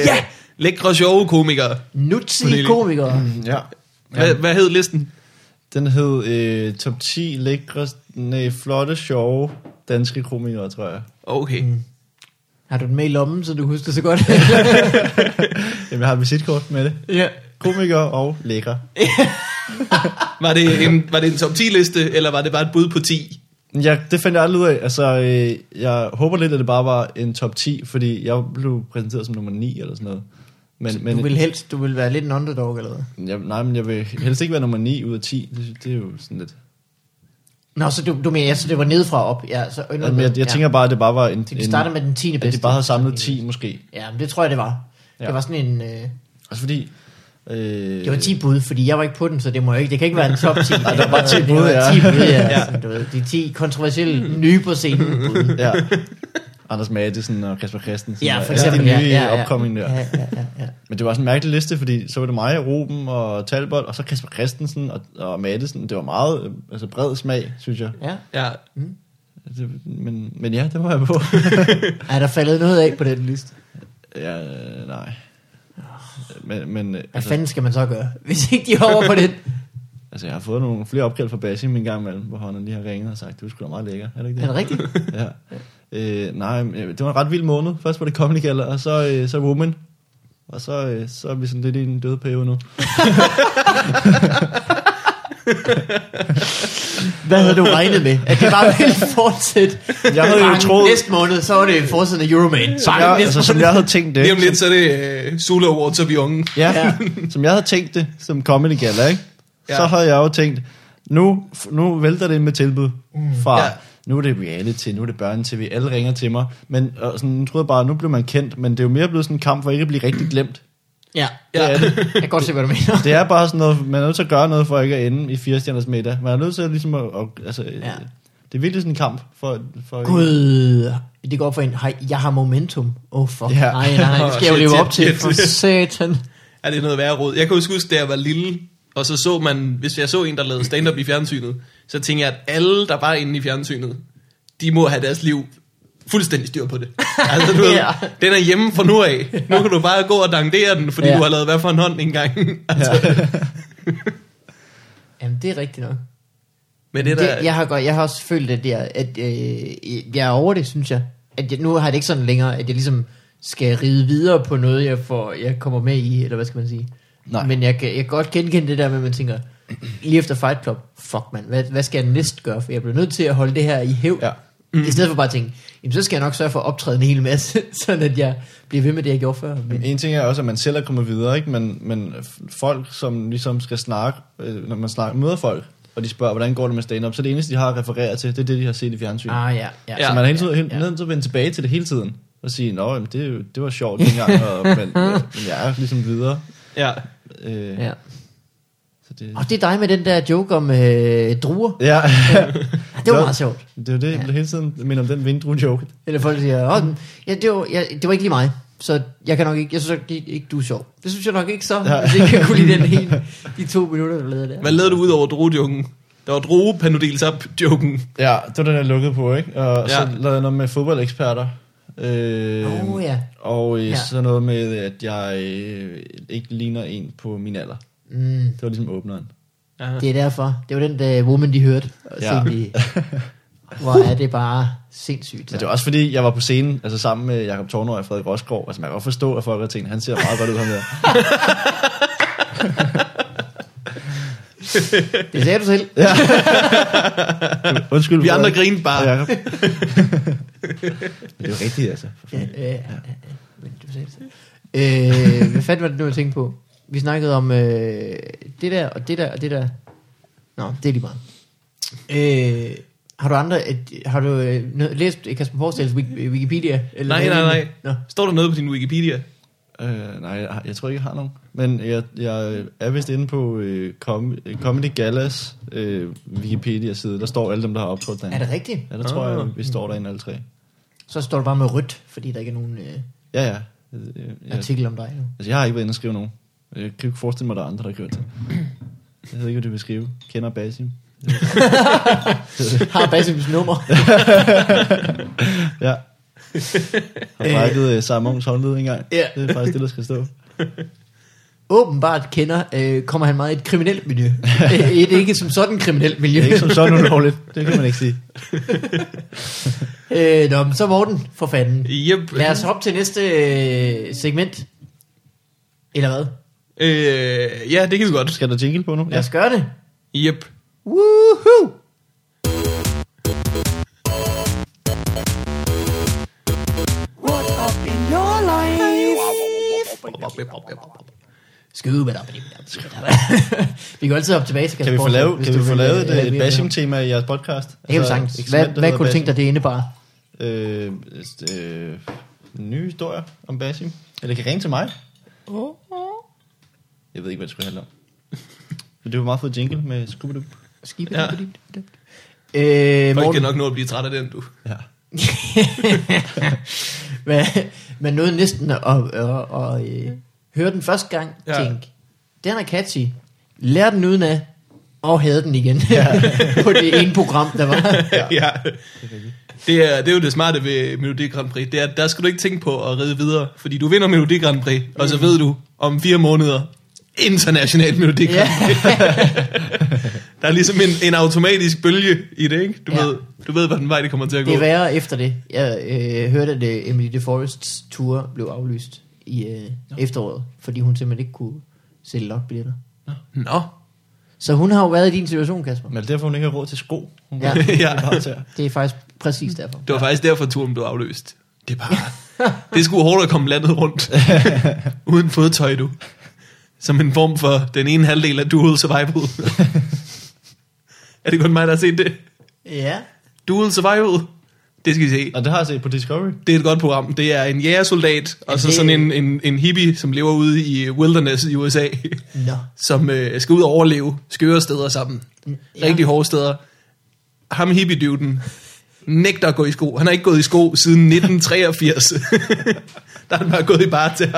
S2: ja!
S1: lækre, sjove komikere.
S2: Nuttige
S1: Fordeling.
S2: komikere.
S3: Øhm, Ja.
S1: Hva, Hvad hed listen?
S3: Den hed øh, Top 10 lækre, nej, flotte, sjove danske komikere, tror jeg.
S1: Okay.
S2: Mm. (laughs) Har du den med i lommen, så du husker så godt?
S3: Jamen, jeg har et visitkort med det.
S2: ja.
S3: komiker og lækker.
S1: Var det en, var det en top 10-liste, eller var det bare et bud på 10?
S3: Ja, det fandt jeg aldrig ud af. Altså, øh, jeg håber lidt, at det bare var en top 10, fordi jeg blev præsenteret som nummer 9 eller sådan noget. Men,
S2: Men, du
S3: men
S2: vil helst, du vil være lidt en underdog eller hvad?
S3: jeg, nej, men jeg vil helst ikke være nummer 9 ud af 10. Det, det er jo sådan lidt...
S2: Nå, så du, du mener, ja, så det var nedefra og op. Ja, så
S3: Jamen, Altså, jeg, jeg tænker bare, at det bare var en...
S2: Det kan starte med den 10.
S3: at
S2: bedste.
S3: de bare havde samlet 10 måske.
S2: Ja, men det tror jeg, det var. Ja.
S3: Ja.
S2: Det var sådan en... Øh,
S3: Altså fordi... Øh,
S2: det var 10 bud, fordi jeg var ikke på den, så det må jeg ikke. Det kan ikke være en top 10. Nej,
S3: der var 10 bud, ja.
S2: 10 bud, ja.
S1: Ja.
S2: Sådan, du ved, de 10 kontroversielle nye på scenen bud.
S3: Ja. Anders Madsen og Kasper Christensen.
S2: Ja,
S3: og
S2: for
S3: alle
S2: eksempel.
S3: De
S2: ja,
S3: nye
S2: ja, ja.
S3: opkommende der.
S2: Ja, ja, ja, ja.
S3: Men det var sådan en mærkelig liste, fordi så var det mig, Ruben og Talbot, og så Kasper Christensen og, og Madsen. Det var meget øh, altså bred smag, synes jeg.
S2: ja.
S1: Ja.
S3: Det, men, men ja, det var jeg på. (laughs)
S2: Er der faldet noget af på den liste?
S3: ja, øh, nej. Men, men øh,
S2: Hvad
S3: altså,
S2: fanden skal man så gøre, hvis ikke de er over på den?
S3: altså, jeg har fået nogle flere opkald fra Basim en gang imellem, hvor han lige har ringet og sagt, du er sgu da meget lækker, er det ikke
S2: Er
S3: det?
S2: det rigtigt?
S3: (laughs) ja. Øh, nej, men, øh, det var en ret vild måned. Først var det Comedy Gala, og så, øh, så Woman. Og så, øh, så er vi sådan lidt i en døde periode nu.
S2: Hvad havde du regnet med? At det bare ville fortsætte?
S3: Jeg havde jo
S2: Bang,
S3: troet-
S2: Næste måned, så var det forsiden af Euroman.
S3: Som jeg, altså, som jeg havde tænkt det.
S1: Lige om lidt, så er det øh, Sula Awards, og vi er unge.
S3: Ja,
S2: Ja.
S3: ja. (laughs) som jeg havde tænkt det, som Comedy Gala, ikke?
S1: Ja.
S3: Ja. Så havde jeg jo tænkt, nu, nu vælter det ind med tilbud fra,
S1: Ja.
S3: ja. nu er det reality, nu er det børnetv, alle ringer til mig. Men og sådan, nu troede jeg bare, nu blev man kendt, men det er jo mere blevet sådan en kamp for ikke at blive rigtig glemt.
S2: Ja,
S1: Ja.
S3: Det er det.
S2: jeg kan godt se, hvad du mener.
S3: Det er bare sådan noget, man er nødt til at gøre noget for ikke at ende i 4 middag. Man er nødt til at ligesom at, at altså, ja. det er virkelig sådan en kamp for... for
S2: Gud, det går op for en, hej, jeg har momentum. Åh, oh, fuck.
S3: Ja.
S2: Nej, nej, det
S1: Åh,
S2: skal jeg jo
S1: shit,
S2: leve op
S1: shit,
S2: til.
S1: shit.
S2: For satan.
S1: Er det noget værre råd? Jeg kan huske, huske, da jeg var lille, og så så man, hvis jeg så en, der lavede stand-up i fjernsynet, så tænkte jeg, at alle, der var inde i fjernsynet, de må have deres liv fuldstændig styr
S2: (laughs)
S1: på det. Altså, du ved,
S2: Ja.
S1: den er hjemme fra nu af. Nu kan du bare gå og dangdere den, fordi
S2: Ja.
S1: ja. du har lavet hvad for en hånd engang. (laughs) Altså, ja.
S2: Jamen, det er rigtigt nok.
S1: Men det
S2: Det,
S1: der,
S2: det, jeg, har godt, jeg har også følt det der, at øh, jeg er over det, synes jeg. At jeg, nu har jeg det ikke sådan længere, at jeg ligesom skal ride videre på noget, jeg, får, jeg kommer med i, eller hvad skal man sige.
S3: Nej.
S2: Men jeg kan, jeg kan godt genkende det der med, at man tænker, lige efter Fight Club, fuck mand, hvad, hvad skal jeg næst gøre? For jeg bliver nødt til at holde det her i hæv.
S3: Ja.
S2: Mm. I stedet for bare at tænke, jamen, så skal jeg nok sørge for at optræde en hel masse, (laughs) sådan at jeg bliver ved med det, jeg gjorde før. Men,
S3: En ting er også, at man selv er kommet videre, ikke? Men, men f- folk, som ligesom skal snakke, øh, når man snakker, møder folk, og de spørger, hvordan går det med stand-up, så det eneste, de har at referere til, det er det, de har set i fjernsyn. Ah,
S2: ah ja, ja.
S3: ja,
S1: Ja.
S3: så man er hele tiden,
S2: ja.
S3: ja, nødt til at vende tilbage til det hele tiden, og sige, nå, jamen, det, er jo- det var sjovt dengang,
S2: (laughs)
S3: og, men, øh, men jeg er ligesom videre.
S1: ja.
S3: Øh,
S2: ja.
S3: Så det,
S2: Og det er dig med den der joke om øh, druer.
S3: ja,
S2: (laughs) Det var
S3: Nå.
S2: meget sjovt.
S3: det er jo det, jeg hele tiden minder om den vindru-joke.
S2: Eller folk siger, Åh, den, ja, det, var, ja, det var ikke lige mig, så jeg kan nok ikke, jeg synes nok ikke, ikke, du er sjov. Det synes jeg nok ikke så, ja.
S3: Ja.
S2: hvis ikke jeg kunne lide den ene, de to minutter, du lavede der.
S1: Hvad lavede du ud over druejunken? Der var druepanodilsap-joken.
S3: Ja, det var den, jeg lukkede på, ikke? Og ja. så
S1: Ja.
S3: lavede jeg noget med fodboldeksperter. Øh,
S2: Åh, ja.
S3: Og øh,
S2: Ja.
S3: ja. så noget med, at jeg øh, ikke ligner en på min alder.
S2: Mm,
S3: Det var ligesom åbneren.
S1: Ja.
S2: det er derfor. Det var den der woman, de hørte. Og
S3: Ja.
S2: ja. de, hvor er det bare sindssygt.
S3: Men det var også fordi, jeg var på scenen altså sammen med Jakob Tornøj og Frederik Rosgaard. Altså man kan godt forstå, at folk har tænkt, han ser meget godt ud ham der.
S2: Det sagde du selv.
S3: Undskyld.
S1: Vi andre
S3: Frederik
S1: grinede bare.
S3: og Jakob. Men det er jo rigtigt, altså. For
S2: Ja,
S3: fanden.
S2: ja, ja. Men du sagde det selv. Øh, hvad fanden var det nu, jeg tænkte på? Vi snakkede om øh, det der, og det der, og det der. Nå, det er lige meget. Øh, har du andre, øh, har du øh, nø- læst Kasper Forstals Wikipedia? Eller
S1: Nej,
S2: hvad?
S1: nej, nej.
S2: Nå.
S1: Står der noget på din Wikipedia?
S3: Øh, nej, jeg, har- jeg tror ikke, jeg har nogen. Men jeg, jeg er vist inde på øh, Com- Comedy Galas øh, Wikipedia-side. Der står alle dem, der har optrådt derinde.
S2: Er det rigtigt?
S3: Ja, der tror jeg, vi står derinde alle tre.
S2: Så står du bare med rødt, fordi der ikke er nogen øh,
S3: Ja, ja. Øh, øh, Jeg,
S2: artikel om dig nu. (laughs)
S3: altså, jeg har ikke været inde og skrive nogen. Jeg kan ikke forestille mig, at der er andre, der har gjort det. Jeg ved ikke, hvad det vil skrive. Kender Basim.
S2: Har Basims nummer.
S3: Ja. Har brækket øh, Sarah Munchs håndled engang.
S2: Ja.
S3: Det er faktisk det, der skal stå.
S2: Åbenbart kender, øh, kommer han meget i et kriminelt
S3: (laughs)
S2: miljø. Øh, et ikke som sådan kriminelt miljø.
S3: Det er ikke som sådan ulovligt. Det kan man ikke sige.
S2: (laughs) Øh, nå, men så Morten, for fanden.
S1: Yep.
S2: Lad os hoppe til næste øh, segment. Eller hvad?
S1: Øh, ja, det kan vi godt.
S3: Skal der jingle på nu?
S2: Lad os gøre det.
S1: Yep.
S2: Woohoo!
S4: What up in your life?
S2: Skide med (laughs) Vi kan altid hoppe tilbage til
S3: Kan vi få
S2: Kasper
S3: lavet,
S2: hvis
S3: kan
S2: du
S3: vi få
S2: vil,
S3: lavet
S2: øh, have
S3: et, et
S2: mere om.
S3: bashing-tema i jeres podcast? Altså,
S2: Det kan vi sagtens. Hvad, hvad kunne du tænke dig, det indebar?
S3: Øh, øh, nye historier om bashing? Eller kan ringe til mig? Jeg ved ikke, hvad det skulle handle om. Men det var meget fed jingle med Scooby-Doo.
S2: Skib
S1: Ja.
S2: ja. Øh,
S1: Folk kan
S2: Morten,
S1: nok nå at blive træt af den, du.
S3: Ja.
S2: (laughs) men, men nåede næsten at, at, at, at øh, høre den første gang,
S1: Ja.
S2: ja. tænk, den er catchy. Lær den uden af, og havde den igen (laughs) på det ene program, der var.
S1: Ja. ja. Det er, det er jo det smarte ved Melodi Grand Prix. Det er, at der skal du ikke tænke på at ride videre, fordi du vinder Melodi Grand Prix, og så ved du om fire måneder international Melodi Grand
S2: Ja.
S1: Prix. (laughs) der er ligesom en, en automatisk bølge i det, ikke? Du,
S2: Ja.
S1: ja. ved, du ved, hvordan vej det kommer til at gå.
S2: Det er værre efter det. Jeg øh, hørte, at øh, Emily de Forests tour blev aflyst i øh, efteråret, fordi hun simpelthen ikke kunne sælge nok billetter.
S1: Nå.
S2: Så hun har jo været i din situation, Kasper.
S3: Men det er derfor, hun ikke har råd til sko. Hun
S2: Ja.
S1: Ja.
S3: (laughs) ja.
S2: Det er faktisk præcis derfor.
S1: Det var faktisk derfor, turen blev afløst. Det er bare... (laughs) det skulle hårdt at komme landet rundt. Uden fodtøj, du. Som en form for den ene halvdel af Dual Survival. er det kun mig, der har set det?
S2: Ja.
S1: Dual Survival. Det skal I se.
S3: Og det har jeg set på Discovery.
S1: Det er et godt program. Det er en jægersoldat, og så
S2: det-
S1: sådan en, en, en hippie, som lever ude i wilderness i USA,
S2: Nå.
S1: som øh, skal ud og overleve skøre steder sammen.
S2: Mm, Ja.
S1: Rigtig hårde steder. Ham hippie-duden nægter at gå i sko. Han har ikke gået i sko siden 1983. (laughs) Der har han bare gået i bare til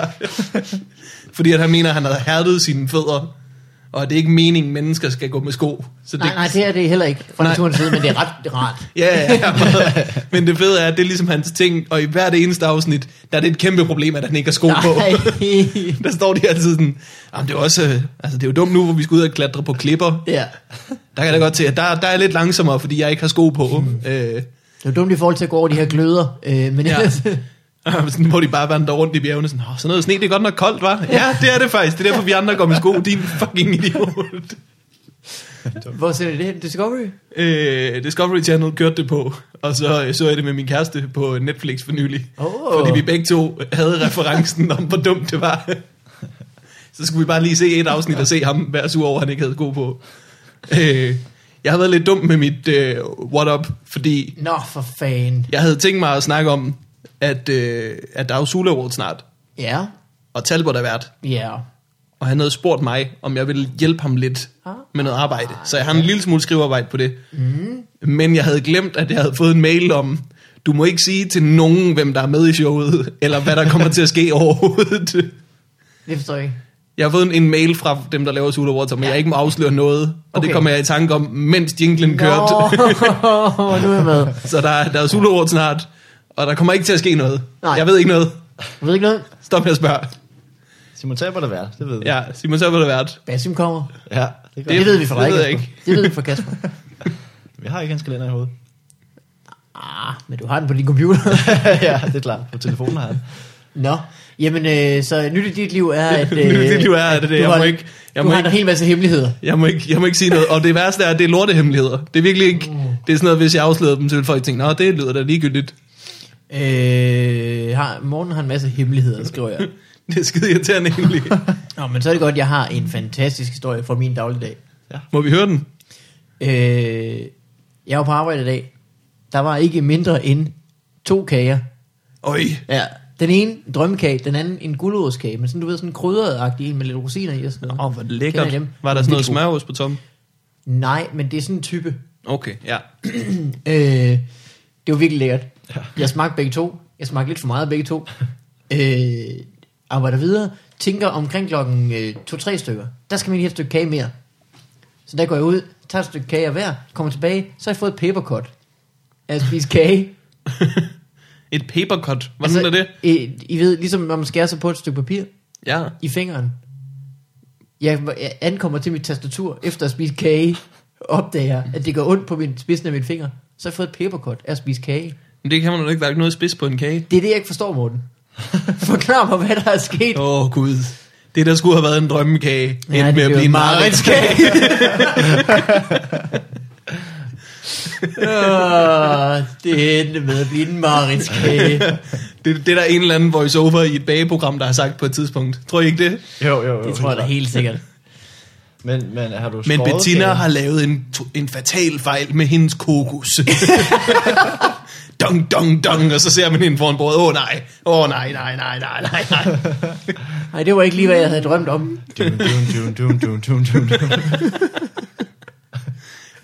S1: (laughs) Fordi at han mener, at han har hærdet sine fødder, og at det er ikke meningen, at mennesker skal gå med sko. Så
S2: Nej, nej, det er det heller ikke fra
S1: Nej.
S2: naturens side, men det er (laughs) ret rart.
S1: Ja, ja, ja. meget. Men det fede er, at det er ligesom hans ting, og i hvert eneste afsnit, der er det et kæmpe problem, at han ikke har sko på.
S2: Nej. (laughs)
S1: (laughs) Der står de altid sådan, jamen det er, jo også, øh, altså det er jo dumt nu, hvor vi skal ud og klatre på klipper.
S2: ja.
S1: Der kan jeg da godt se, at der, der er jeg lidt langsommere, fordi jeg ikke har sko på. Øh,
S2: Det er jo dumt i forhold til at gå over de her gløder, øh,
S1: (laughs)
S2: men (laughs)
S1: Ja.
S2: ja. ellers,
S1: sådan, hvor de bare vandrer rundt i bjergene, sådan, Åh, sådan noget sne, det er godt nok koldt, var. Ja, det er det faktisk. Det er derfor, vi andre går med sko, din fucking idiot.
S2: hvor ser det hen? Discovery?
S1: Øh, Discovery Channel kørte det på, og så øh, så jeg det med min kæreste på Netflix for nylig.
S2: Åh.
S1: Fordi vi begge to havde referencen om, hvor dumt det var. Så skulle vi bare lige se et afsnit og se ham være sur over, at han ikke havde god på. Øh, jeg havde været lidt dum med mit øh, what up, fordi
S2: Nå, for fanden.
S1: jeg havde tænkt mig at snakke om, at, øh, at der er jo Sula Award snart,
S2: Ja.
S1: og Talbot er vært.
S2: Ja.
S1: Og han havde spurgt mig, om jeg ville hjælpe ham lidt
S2: Ah.
S1: med noget arbejde. Så jeg har en lille smule skrivearbejde på det. Mm. Men jeg havde glemt, at jeg havde fået en mail om, du må ikke sige til nogen, hvem der er med i showet, eller hvad der kommer til at ske overhovedet.
S2: Det forstår jeg ikke.
S1: Jeg har fået en, en mail fra dem, der laver Sula Water, men ja. jeg ikke må afsløre noget. Og okay.
S2: Okay.
S1: det kommer jeg i tanke om, mens jinglen kørte.
S2: Nå, (laughs) nu er jeg med.
S1: Så der, der er Sula Award snart, og der kommer ikke til at ske noget.
S2: Nej.
S1: Jeg ved ikke noget.
S2: Du ved ikke noget?
S1: Stop med at spørge.
S3: Simon Taber, der værd, det ved vi.
S1: Ja, Simon, så var det værd.
S2: Basim kommer.
S3: ja det, gør
S2: Det,
S3: det.
S2: det ved vi fra
S1: det
S2: dig,
S1: ved jeg
S2: Kasper. Det ved vi fra Kasper.
S3: Vi har ikke hans kalender i hovedet. (laughs)
S2: Ah, men du har den på din computer. (laughs)
S3: ja, det er klart. På telefonen har han.
S2: Nå, jamen øh, så nyt i dit liv er, at... Øh,
S1: Nyt i (laughs) dit liv er, at, øh,
S2: du
S1: jeg må
S2: har-
S1: ikke- jeg
S2: du
S1: må
S2: har
S1: ikke-
S2: en hel masse hemmeligheder.
S1: Jeg må, ikke, jeg må ikke sige noget. Og det værste er, at det er lortehemmeligheder. Det er virkelig ikke... Det er sådan noget, hvis jeg afslører dem, så vil folk tænke, nå, det lyder da ligegyldigt. (laughs)
S2: Øh, har, Morten har en masse hemmeligheder, skriver
S1: (laughs)
S2: jeg.
S1: Det er skide irriterende
S2: (laughs)
S1: egentlig.
S2: Nå, men så er det godt, at jeg har en fantastisk historie fra min dagligdag.
S1: Må vi høre den?
S2: Øh, jeg var på arbejde i dag. Der var ikke mindre end to kager.
S1: Øj.
S2: Ja. Den ene en drømmekage, den anden en gulerodskage, men sådan, du ved, sådan en krydret en med lidt rosiner i og sådan noget.
S1: Åh, oh, hvor
S2: Kender I
S1: lækkert.
S2: dem?
S1: Var der sådan noget
S2: Vildt god.
S1: smørost på tom?
S2: Nej, men det er sådan en type.
S1: Okay, ja. (laughs)
S2: (clears throat) Øh, det var virkelig lækkert. Jeg smagte begge to. Jeg smagte lidt for meget af begge to. Øh, arbejder videre. Tænker omkring klokken øh, to-tre stykker. Der skal man lige have et stykke kage mere. Så der går jeg ud, tager et stykke kage af hver, kommer tilbage, så har jeg fået et papercut.
S1: (laughs)
S2: Jeg spiser kage.
S1: Et papercut. Hvordan altså, er det?
S2: I, I ved, ligesom når man skærer sig på et stykke papir
S1: Ja.
S2: i fingeren. Jeg, jeg ankommer til mit tastatur efter at spise kage, opdager, at det gør ondt på min, spidsen af min finger. Så har jeg fået et papercut af at spise kage.
S1: Men det kan man jo ikke være noget spids på en kage. (laughs)
S2: Det er det, jeg ikke forstår, Morten. Forklar mig, hvad der er sket.
S1: Åh, oh, Gud. Det, der skulle have været en drømmekage,
S2: Ja,
S1: ja, endte med
S2: det
S1: at
S2: blev
S1: blive en
S2: en mareridtskage.
S1: (laughs) mareridtskage.
S2: Åh, Øh, det endte med at blive en mareridtskage.
S1: Det, det er der en eller anden voiceover i et bageprogram, der har sagt på et tidspunkt. Tror I ikke det?
S3: Jo, jo, jo.
S2: Det tror jeg da helt sikkert.
S3: Men, men har du
S1: Men
S3: skåret
S1: Bettina
S3: kagen?
S1: har lavet en, to- en fatal fejl med hendes
S2: (laughs)
S1: kokos. dong, dong, dong, og så ser man hende foran bordet. Åh oh, nej, åh oh, nej, nej, nej, nej, nej, nej.
S2: Nej, det var ikke lige, hvad jeg havde drømt om.
S3: Dun, dun, dun, dun, dun, dun, dun.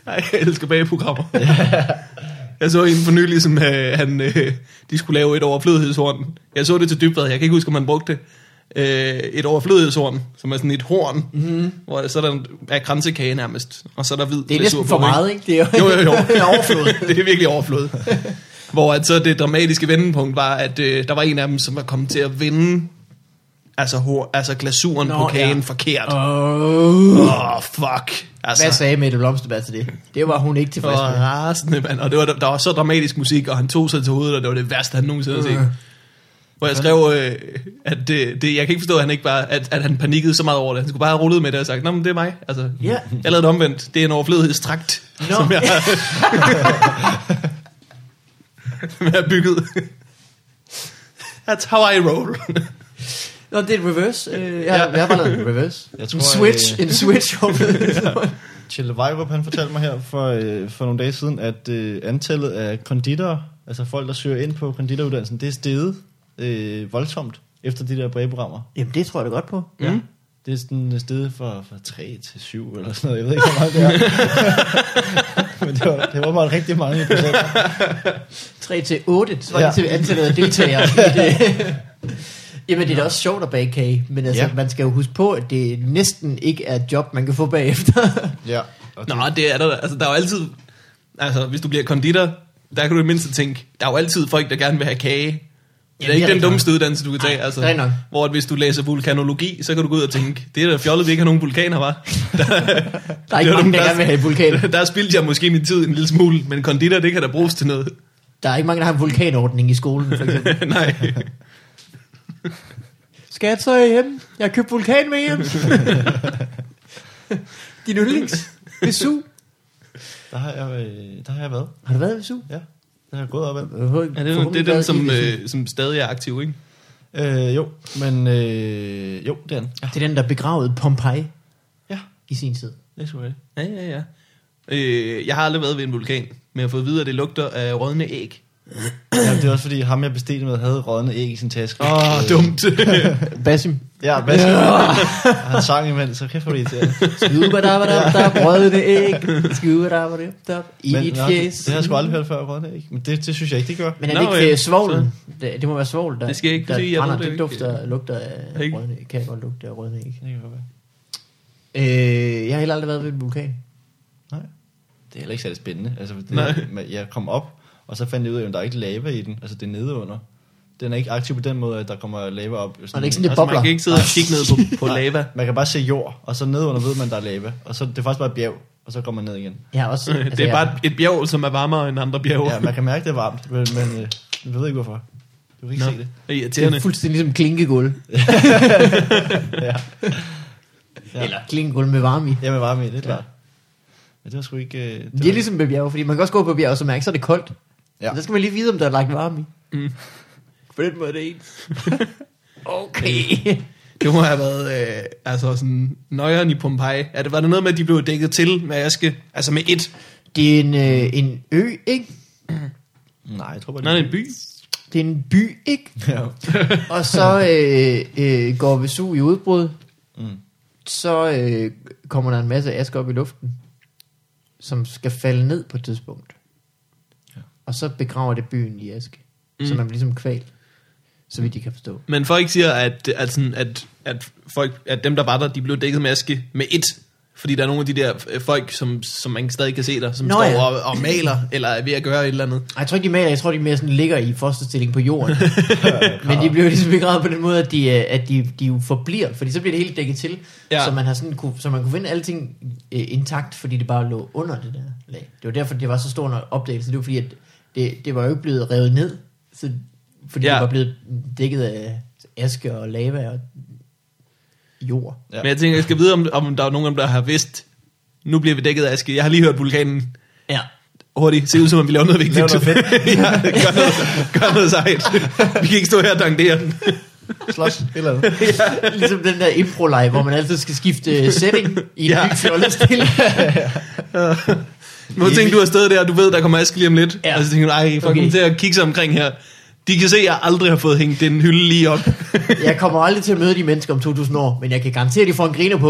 S1: Ej, Jeg elsker bageprogrammer. Jeg så en for nylig, som øh, han, øh, de skulle lave et overflødighedshorn. Jeg så det til dybvad, jeg kan ikke huske, om han brugte det. Øh, et overflødighedshorn, som er sådan et horn, mm-hmm. hvor så er der en, er kransekage nærmest, og så er der hvid
S2: Mhm. Det er
S1: glasur
S2: næsten
S1: på,
S2: for
S1: ikke?
S2: meget, ikke? Det er
S1: Jo, jo, jo.
S2: overflod.
S1: (laughs) det er virkelig overflod. Hvor at så det dramatiske vendepunkt var, at øh, der var en af dem, som var kommet til at vende altså, hår, altså glasuren
S2: Nå,
S1: Nå, på kagen
S2: ja.
S1: ja. forkert. Åh,
S2: Oh.
S1: oh. oh, fuck. Altså,
S2: (laughs) Hvad sagde Mette Blomsterberg til det? Det var hun ikke
S1: det
S2: tilfreds
S1: var
S2: med.
S1: rasende, mand. Og det var, der var så dramatisk musik, og han tog sig til hovedet, og det var det værste, han nogensinde har
S2: Øh.
S1: set. Hvor jeg skrev, øh, at det, det, jeg kan ikke forstå, at han, ikke bare, at, at han panikkede så meget over det. Han skulle bare have rullet med det og sagt, Nå, men det er mig. Altså,
S2: Ja.
S1: Jeg lavede det omvendt. Det er en overflødighedstrakt,
S2: Nå.
S1: som jeg,
S2: (laughs)
S1: (laughs) som jeg har bygget. That's how I roll.
S2: Nå, det er et reverse. Øh, jeg, har,
S1: Ja.
S2: jeg har bare lavet en reverse.
S3: Jeg tror,
S2: En switch,
S3: øh,
S2: en switch.
S1: (laughs)
S3: Chille Vejrup, han fortalte mig her for, øh, for nogle dage siden, at øh, antallet af konditorer, altså folk, der søger ind på konditoruddannelsen, det er steget øh, voldsomt efter de der brevprogrammer.
S2: Jamen, det tror jeg da godt på.
S1: Ja.
S3: Det er sådan stedet fra, fra 3 til 7 eller sådan noget. Jeg ved ikke, hvor meget det er. (laughs) Men det var, det var bare rigtig mange i procent.
S2: 3 til 8, så var
S3: Ja.
S2: det til antallet af (laughs) deltagere. i det. (laughs) Jamen, det er da også sjovt at bage kage, men altså,
S3: Ja.
S2: ja. man skal jo huske på, at det næsten ikke er et job, man kan få bagefter. (laughs)
S3: Ja. Og
S1: Nå, det er der. Altså, der er jo altid... Altså, hvis du bliver konditor, der kan du i det mindste tænke, der er jo altid folk, der gerne vil have kage. Det er
S2: det er
S1: ikke den
S2: rigtigt.
S1: dummeste uddannelse, du kan tage.
S2: Ej,
S1: altså,
S2: det er nok.
S1: hvor at hvis du læser vulkanologi, så kan du gå ud og tænke, det er da fjollet, vi ikke har nogen vulkaner, var.
S2: Der er ikke
S1: Det var
S2: mange,
S1: den
S2: der gerne vil have en (laughs) vulkan.
S1: (laughs) Der spildte jeg måske min tid en lille smule, men konditor, det kan da bruges til noget.
S2: Der er ikke mange, der har en vulkanordning i skolen, for (laughs)
S1: (laughs)
S2: eksempel.
S1: Nej.
S2: Skat, så er jeg hjemme. Jeg har købt vulkan med hjem. (laughs) Din yndlings. Vesu.
S3: der, har jeg, øh, der har jeg været.
S2: Har du været i Vesu?
S3: Ja, der har jeg gået op ad.
S1: Ja, det, er, det er den, som, øh, som stadig er aktiv, ikke?
S3: Øh, jo, men øh, jo, det er den. Ja,
S2: Det er den, der begravede Pompeji
S3: ja
S2: i sin tid.
S3: det er sgu det.
S1: Ja, ja, ja. Øh, jeg har aldrig været ved en vulkan, men jeg har fået at vide, at det lugter af rådne æg.
S3: Ja, det er også fordi, ham jeg bestilte med, havde rådne æg i sin taske.
S1: Åh, oh, dumt.
S2: Basim.
S3: Ja, hvad skal (laughs) Han sang imens, så kæft for det
S2: Skuba da da da brødende æg. Skuba da da da i dit fjes.
S3: det, det har jeg sgu aldrig hørt før, Ronne, ikke? Men det, det synes jeg ikke, det gør.
S2: Men er
S1: Nå,
S2: det ikke
S1: ja,
S2: øh, svovlen? Det, det, må være svovl, der,
S1: Det skal jeg ikke
S2: der
S1: sige, jeg
S2: brænder.
S1: ved det
S2: det,
S1: ikke.
S2: dufter, lugter af
S1: Ikke?
S2: rødne æg. Kan jeg godt lugte af rødne æg.
S3: Det kan godt være.
S2: Øh, jeg har heller aldrig været ved en vulkan.
S3: Nej. Det er heller ikke særlig spændende. Altså, det,
S1: Nej.
S3: men jeg kom op, og så fandt jeg ud af, at der er ikke lava i den. Altså, det er nede under. Den er ikke aktiv på den måde, at der kommer lava op.
S2: Og det er ikke sådan, det
S1: altså,
S2: bobler.
S1: man kan ikke sidde og kigge ned på, på lava.
S3: Man kan bare se jord, og så nede under ved man, der er lava. Og så det er faktisk bare et bjerg, og så kommer man ned igen.
S2: Jeg har
S1: (laughs)
S2: også... altså,
S1: Det er
S2: jeg-
S1: bare et bjerg, som er varmere end andre bjerge.
S3: Ja, man kan mærke, det er varmt, men, men øh, jeg ved ikke hvorfor. Du kan ikke
S1: Nå,
S3: Nå. se det.
S1: det er
S2: Det
S1: irriterende.
S2: er fuldstændig ligesom klinkegulv.
S1: (laughs)
S3: Ja. Ja.
S2: Eller klinkegulv med varme i.
S3: Jeg vil varme i, det er klart. Men det var sgu ikke... Øh,
S2: Det er ligesom med bjerge, fordi man kan også gå på bjerge og så mærke, så er det koldt.
S3: Ja.
S2: Ja. Så skal man lige vide, om der er lagt varme i.
S1: Mm.
S2: På den måde er det ens. (laughs) okay.
S1: Det må have været øh, altså sådan nøjeren i Pompeji. Er det, var det noget med, at de blev dækket til med aske? Altså med et?
S2: (laughs) Det er en, øh, en ø, ikke? ligesom-
S3: Nej, jeg tror bare, det
S1: Nej, det er en by.
S2: Det er en by, ikke?
S3: (laughs) Ja.
S2: Og (laughs) så øh, øh, går Vesu i udbrud.
S3: Mm.
S2: Så øh, kommer der en masse aske op i luften, som skal falde ned på et tidspunkt.
S3: Ja.
S2: Og så begraver det byen i aske. Mm. Så
S1: Mm.
S2: man bliver ligesom kvalt, så vidt de kan forstå.
S1: Men folk siger, at, at, sådan, at, at, folk, at dem, der var der, de blev dækket med aske med et. Fordi der er nogle af de der øh, folk, som, som man stadig kan se der, som
S2: Nå
S1: Nå, står
S2: ja.
S1: og, og maler, eller er ved at gøre et eller andet.
S2: Ej, Jeg tror ikke, de maler. Jeg tror, de mere sådan ligger i fosterstilling på (laughs) jorden. Men de bliver jo ligesom begravet på den måde, at de, øh, at de, de jo forbliver. Fordi så bliver det helt dækket til.
S1: Ja.
S2: Ja. Så, man har sådan, kunne, så man kunne finde alting øh, intakt, fordi det bare lå under det der lag. Det var derfor, det var så stor en opdagelse. Det var fordi, at det, det var jo ikke blevet revet ned. Så, fordi
S1: Ja.
S2: ja. det var blevet dækket af aske og lava. Og, jord.
S3: Ja.
S1: Ja. Men jeg tænker, jeg skal vide, om, om der er nogen, af dem, der har vidst, nu bliver vi dækket af aske. Jeg har lige hørt vulkanen.
S2: Ja.
S1: Hurtigt, se ud som om vi laver noget vigtigt.
S3: Lav noget fedt.
S1: (laughs) ja, gør noget, gør noget sejt. Vi kan ikke stå her og dangdere.
S2: (laughs)
S3: Slås, et eller andet.
S2: Ligesom den der impro live hvor man altid skal skifte øh, setting i en ja.
S1: Ja.
S2: ny fjollestilling.
S1: Nu tænker du afsted der, og du ved, der kommer aske lige om lidt.
S2: Ja.
S1: Ja. Og så tænker du, ej, fuck,
S2: Okay.
S1: okay. til at kigge sig omkring her. De kan se, at jeg aldrig har fået hængt den hylde lige op.
S2: Jeg kommer aldrig til at møde de mennesker om 2000 år, men jeg kan garantere, at de får en griner på.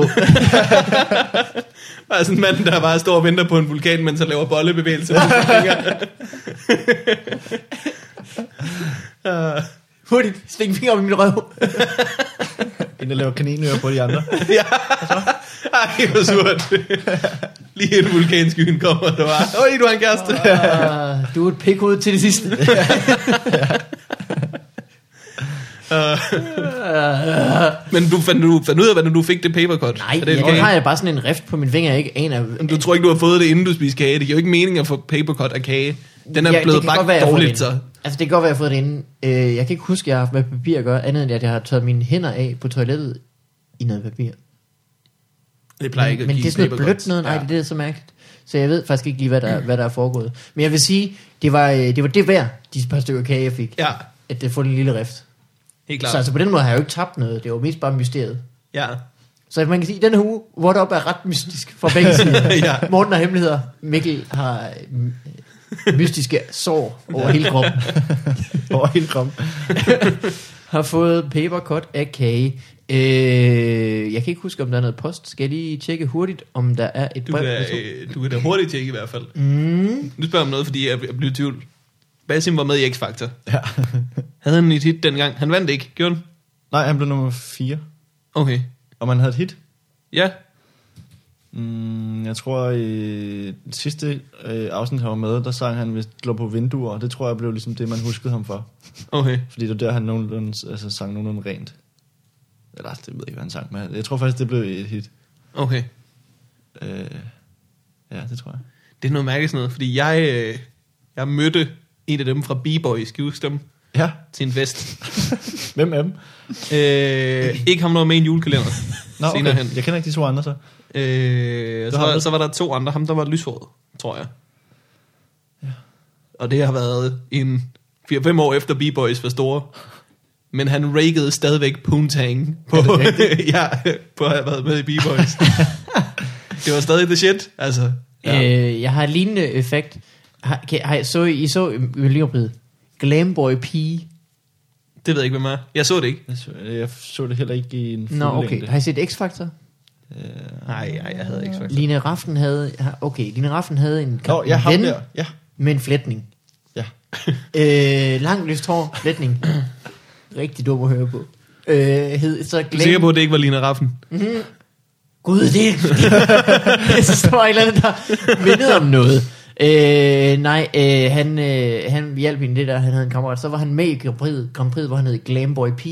S1: Og sådan en mand, der bare står og venter på en vulkan, mens han laver bollebevægelser. med sine fingre. Øh,
S2: Hurtigt, stik fingre op i min røv.
S3: Inden jeg laver kaninører på de andre.
S1: ja. Ej, hvor surt. Lige inden vulkanskyen kommer, der var, Øj, du har en kæreste.
S2: Uh, du er et pikhoved til det
S1: (laughs)
S2: sidste.
S1: Øh,
S2: Uh,
S1: men du fandt, du fandt ud af, hvordan du fik det papercut.
S2: nej,
S1: er det
S2: jeg,
S1: okay?
S2: har jeg bare sådan en rift på min finger, jeg ikke aner.
S1: Men Du tror ikke, du har fået det, inden du spiste kage. Det giver jo ikke mening at få papercut af kage. Den er
S2: Ja, det
S1: ja, blevet
S2: kan godt
S1: bagt
S2: være, jeg har fået
S1: dårligt,
S2: det
S1: så.
S2: inden. Altså, det kan godt være, jeg har fået det inden. Øh, jeg kan ikke huske, jeg har haft med papir at gøre, andet end at jeg har taget mine hænder af på toilettet i noget papir.
S1: Det plejer ikke
S2: men,
S1: at
S2: men
S1: give
S2: det er sådan noget
S1: papercut.
S2: blødt noget, nej,
S1: Ja. Mm.
S2: det er det, så mærkeligt. Så jeg ved faktisk ikke lige, hvad der, hvad der er foregået. Men jeg vil sige, det var øh, det, var det værd, de par stykker kage, jeg fik.
S1: Ja,
S2: At det får en lille rift.
S1: helt
S2: Så
S1: klart.
S2: altså, på den måde har jeg jo ikke tabt noget. Det var mest bare mysteriet.
S1: Ja.
S2: Så man kan sige, at denne her uge, What Up er ret mystisk for
S1: (laughs)
S2: begge sider.
S1: Ja.
S2: Morten har hemmeligheder. Mikkel har øh, mystiske sår over hele
S1: (laughs)
S2: kroppen.
S3: Over hele kroppen.
S2: (laughs) har fået papercut af kage. Øh, jeg kan ikke huske, om der er noget post. Skal jeg lige tjekke hurtigt, om der er et
S1: Du
S2: brev?
S1: kan,
S2: eller to?
S1: øh, du kan da hurtigt tjekke i hvert fald.
S2: Mm,
S1: Nu spørger jeg om noget, fordi jeg jeg blev i tvivl. Basim var med i X-Factor.
S3: Ja.
S1: Havde han et hit dengang? Han vandt ikke, gjorde han?
S3: Nej, han blev nummer 4.
S1: Okay.
S3: Og man havde et hit.
S1: Ja.
S3: Mm, jeg tror, i sidste øh, afsnit, han var med, der sang han, hvis lå på vinduer. og Det tror jeg blev ligesom det, man huskede ham for.
S1: Okay.
S3: Fordi det var der, han nogenlunde, altså, sang nogenlunde rent. Eller, det ved jeg ikke, hvad han sang, men jeg tror faktisk, det blev et hit.
S1: Okay.
S3: Øh, ja, det tror jeg.
S1: Det er noget mærkeligt sådan noget, fordi jeg, øh, jeg mødte en af dem fra B-Boy i Skivestem
S3: (laughs) Ja,
S1: til en fest.
S3: hvem er dem?
S1: Øh, ikke ham noget med i en julekalender.
S3: Nå, okay.
S1: Senere hen.
S3: Jeg kender ikke de to andre, så.
S1: Øh, så,
S3: har
S1: var,
S3: du-
S1: så var der to andre. Ham, der var lyshåret, tror jeg. Og det har været en 4-5 år efter B-Boys var store. Men han rakede stadigvæk poontang på, (laughs) ja, på at have været med i (laughs) B-Boys. det var stadig the shit, altså.
S2: ja.
S1: Ja.
S2: øh, jeg har et lignende effekt. Har, kan, har, I- så I, I så øh, Miljøbrid. Glamboy pige.
S1: Det ved jeg ikke, hvem er. Jeg så det ikke.
S3: Jeg så, jeg så det heller ikke i en fuld
S2: Nå, okay.
S3: længde.
S2: Har I set X-Factor?
S3: Øh,
S1: Nej, nej, jeg havde ikke faktisk.
S2: Line Raffen havde... har- Okay, Line Raffen havde en,
S3: Nå, jeg har
S2: en
S3: der. Ja,
S2: med en flætning.
S3: ja.
S2: Øh, langt lyst hår, flætning. Rigtig dum at høre på. Øh, hed, så
S1: Jeg er sikker på, at det ikke var Lina Raffen.
S2: Gud, det (laughs) Jeg synes, der var et eller andet, der mindede om noget. Øh, nej, øh, han, øh, han hjalp hende lidt, der han havde en kammerat. Så var han med i Grand Prix, Grand Prix hvor han hed Glamboy P,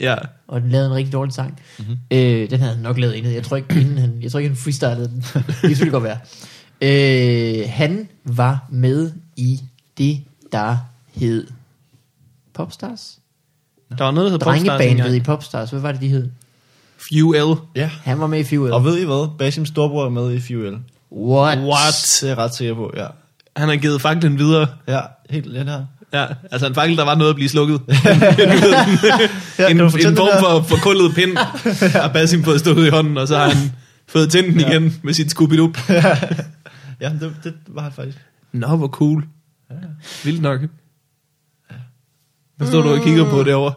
S1: Ja.
S2: og den lavede en rigtig dårlig sang.
S1: Mhm.
S2: Mm-hmm. Øh, den havde han nok lavet inden. Jeg tror ikke, (clears throat) inden han, jeg tror ikke han freestylede den. Det skulle godt være. Øh, han var med i det, der hed Popstars?
S1: Der var noget, der hed Popstars
S2: Drengebandet i
S1: engang.
S2: Popstars. Hvad var det, de hed?
S1: Fuel.
S3: ja.
S2: Han var med i Fuel.
S3: Og ved I hvad? Basims storbror er med i Fuel.
S2: What?
S1: What?
S3: Det er jeg ret sikker på, ja.
S1: Han har givet faklen videre.
S3: Ja, helt lidt her.
S1: Ja, altså en fakkel, der var noget at blive
S3: (laughs)
S1: slukket.
S3: Ja,
S1: en,
S3: kan du
S1: en
S3: fortælle
S1: form
S3: det der?
S1: for, for kullet
S3: (laughs)
S1: pind har Basim fået stukket i hånden, og så har han fået tændt den
S3: Ja.
S1: igen med sit scooby up.
S3: Ja, det, det var han faktisk.
S1: Nå, hvor cool. Vildt nok. Hvad står du og kigger på derovre?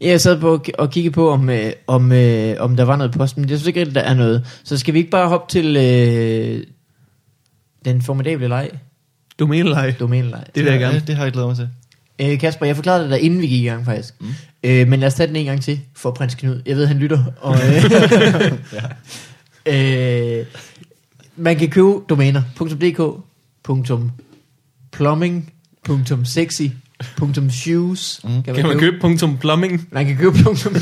S2: Ja, jeg sad på og- og kiggede på, om, øh, om, øh, om der var noget post, men jeg synes ikke, at der er noget. Så skal vi ikke bare hoppe til øh, den formidable leg,
S1: Du mener ej.
S2: domæneleg.
S1: Det vil jeg gerne.
S3: Det, det har jeg glædet mig til.
S2: Øh, Kasper, jeg forklarede det der, inden vi gik i gang faktisk. Mm. Øh, men lad os tage den en gang til for prins Knud. Jeg ved, han lytter. Og, øh, (laughs) øh, man kan købe domæner. .dk, .plumbing, .sexy, .shoes. Mm.
S1: Kan man købe punktum plumbing?
S2: Man kan købe punktum,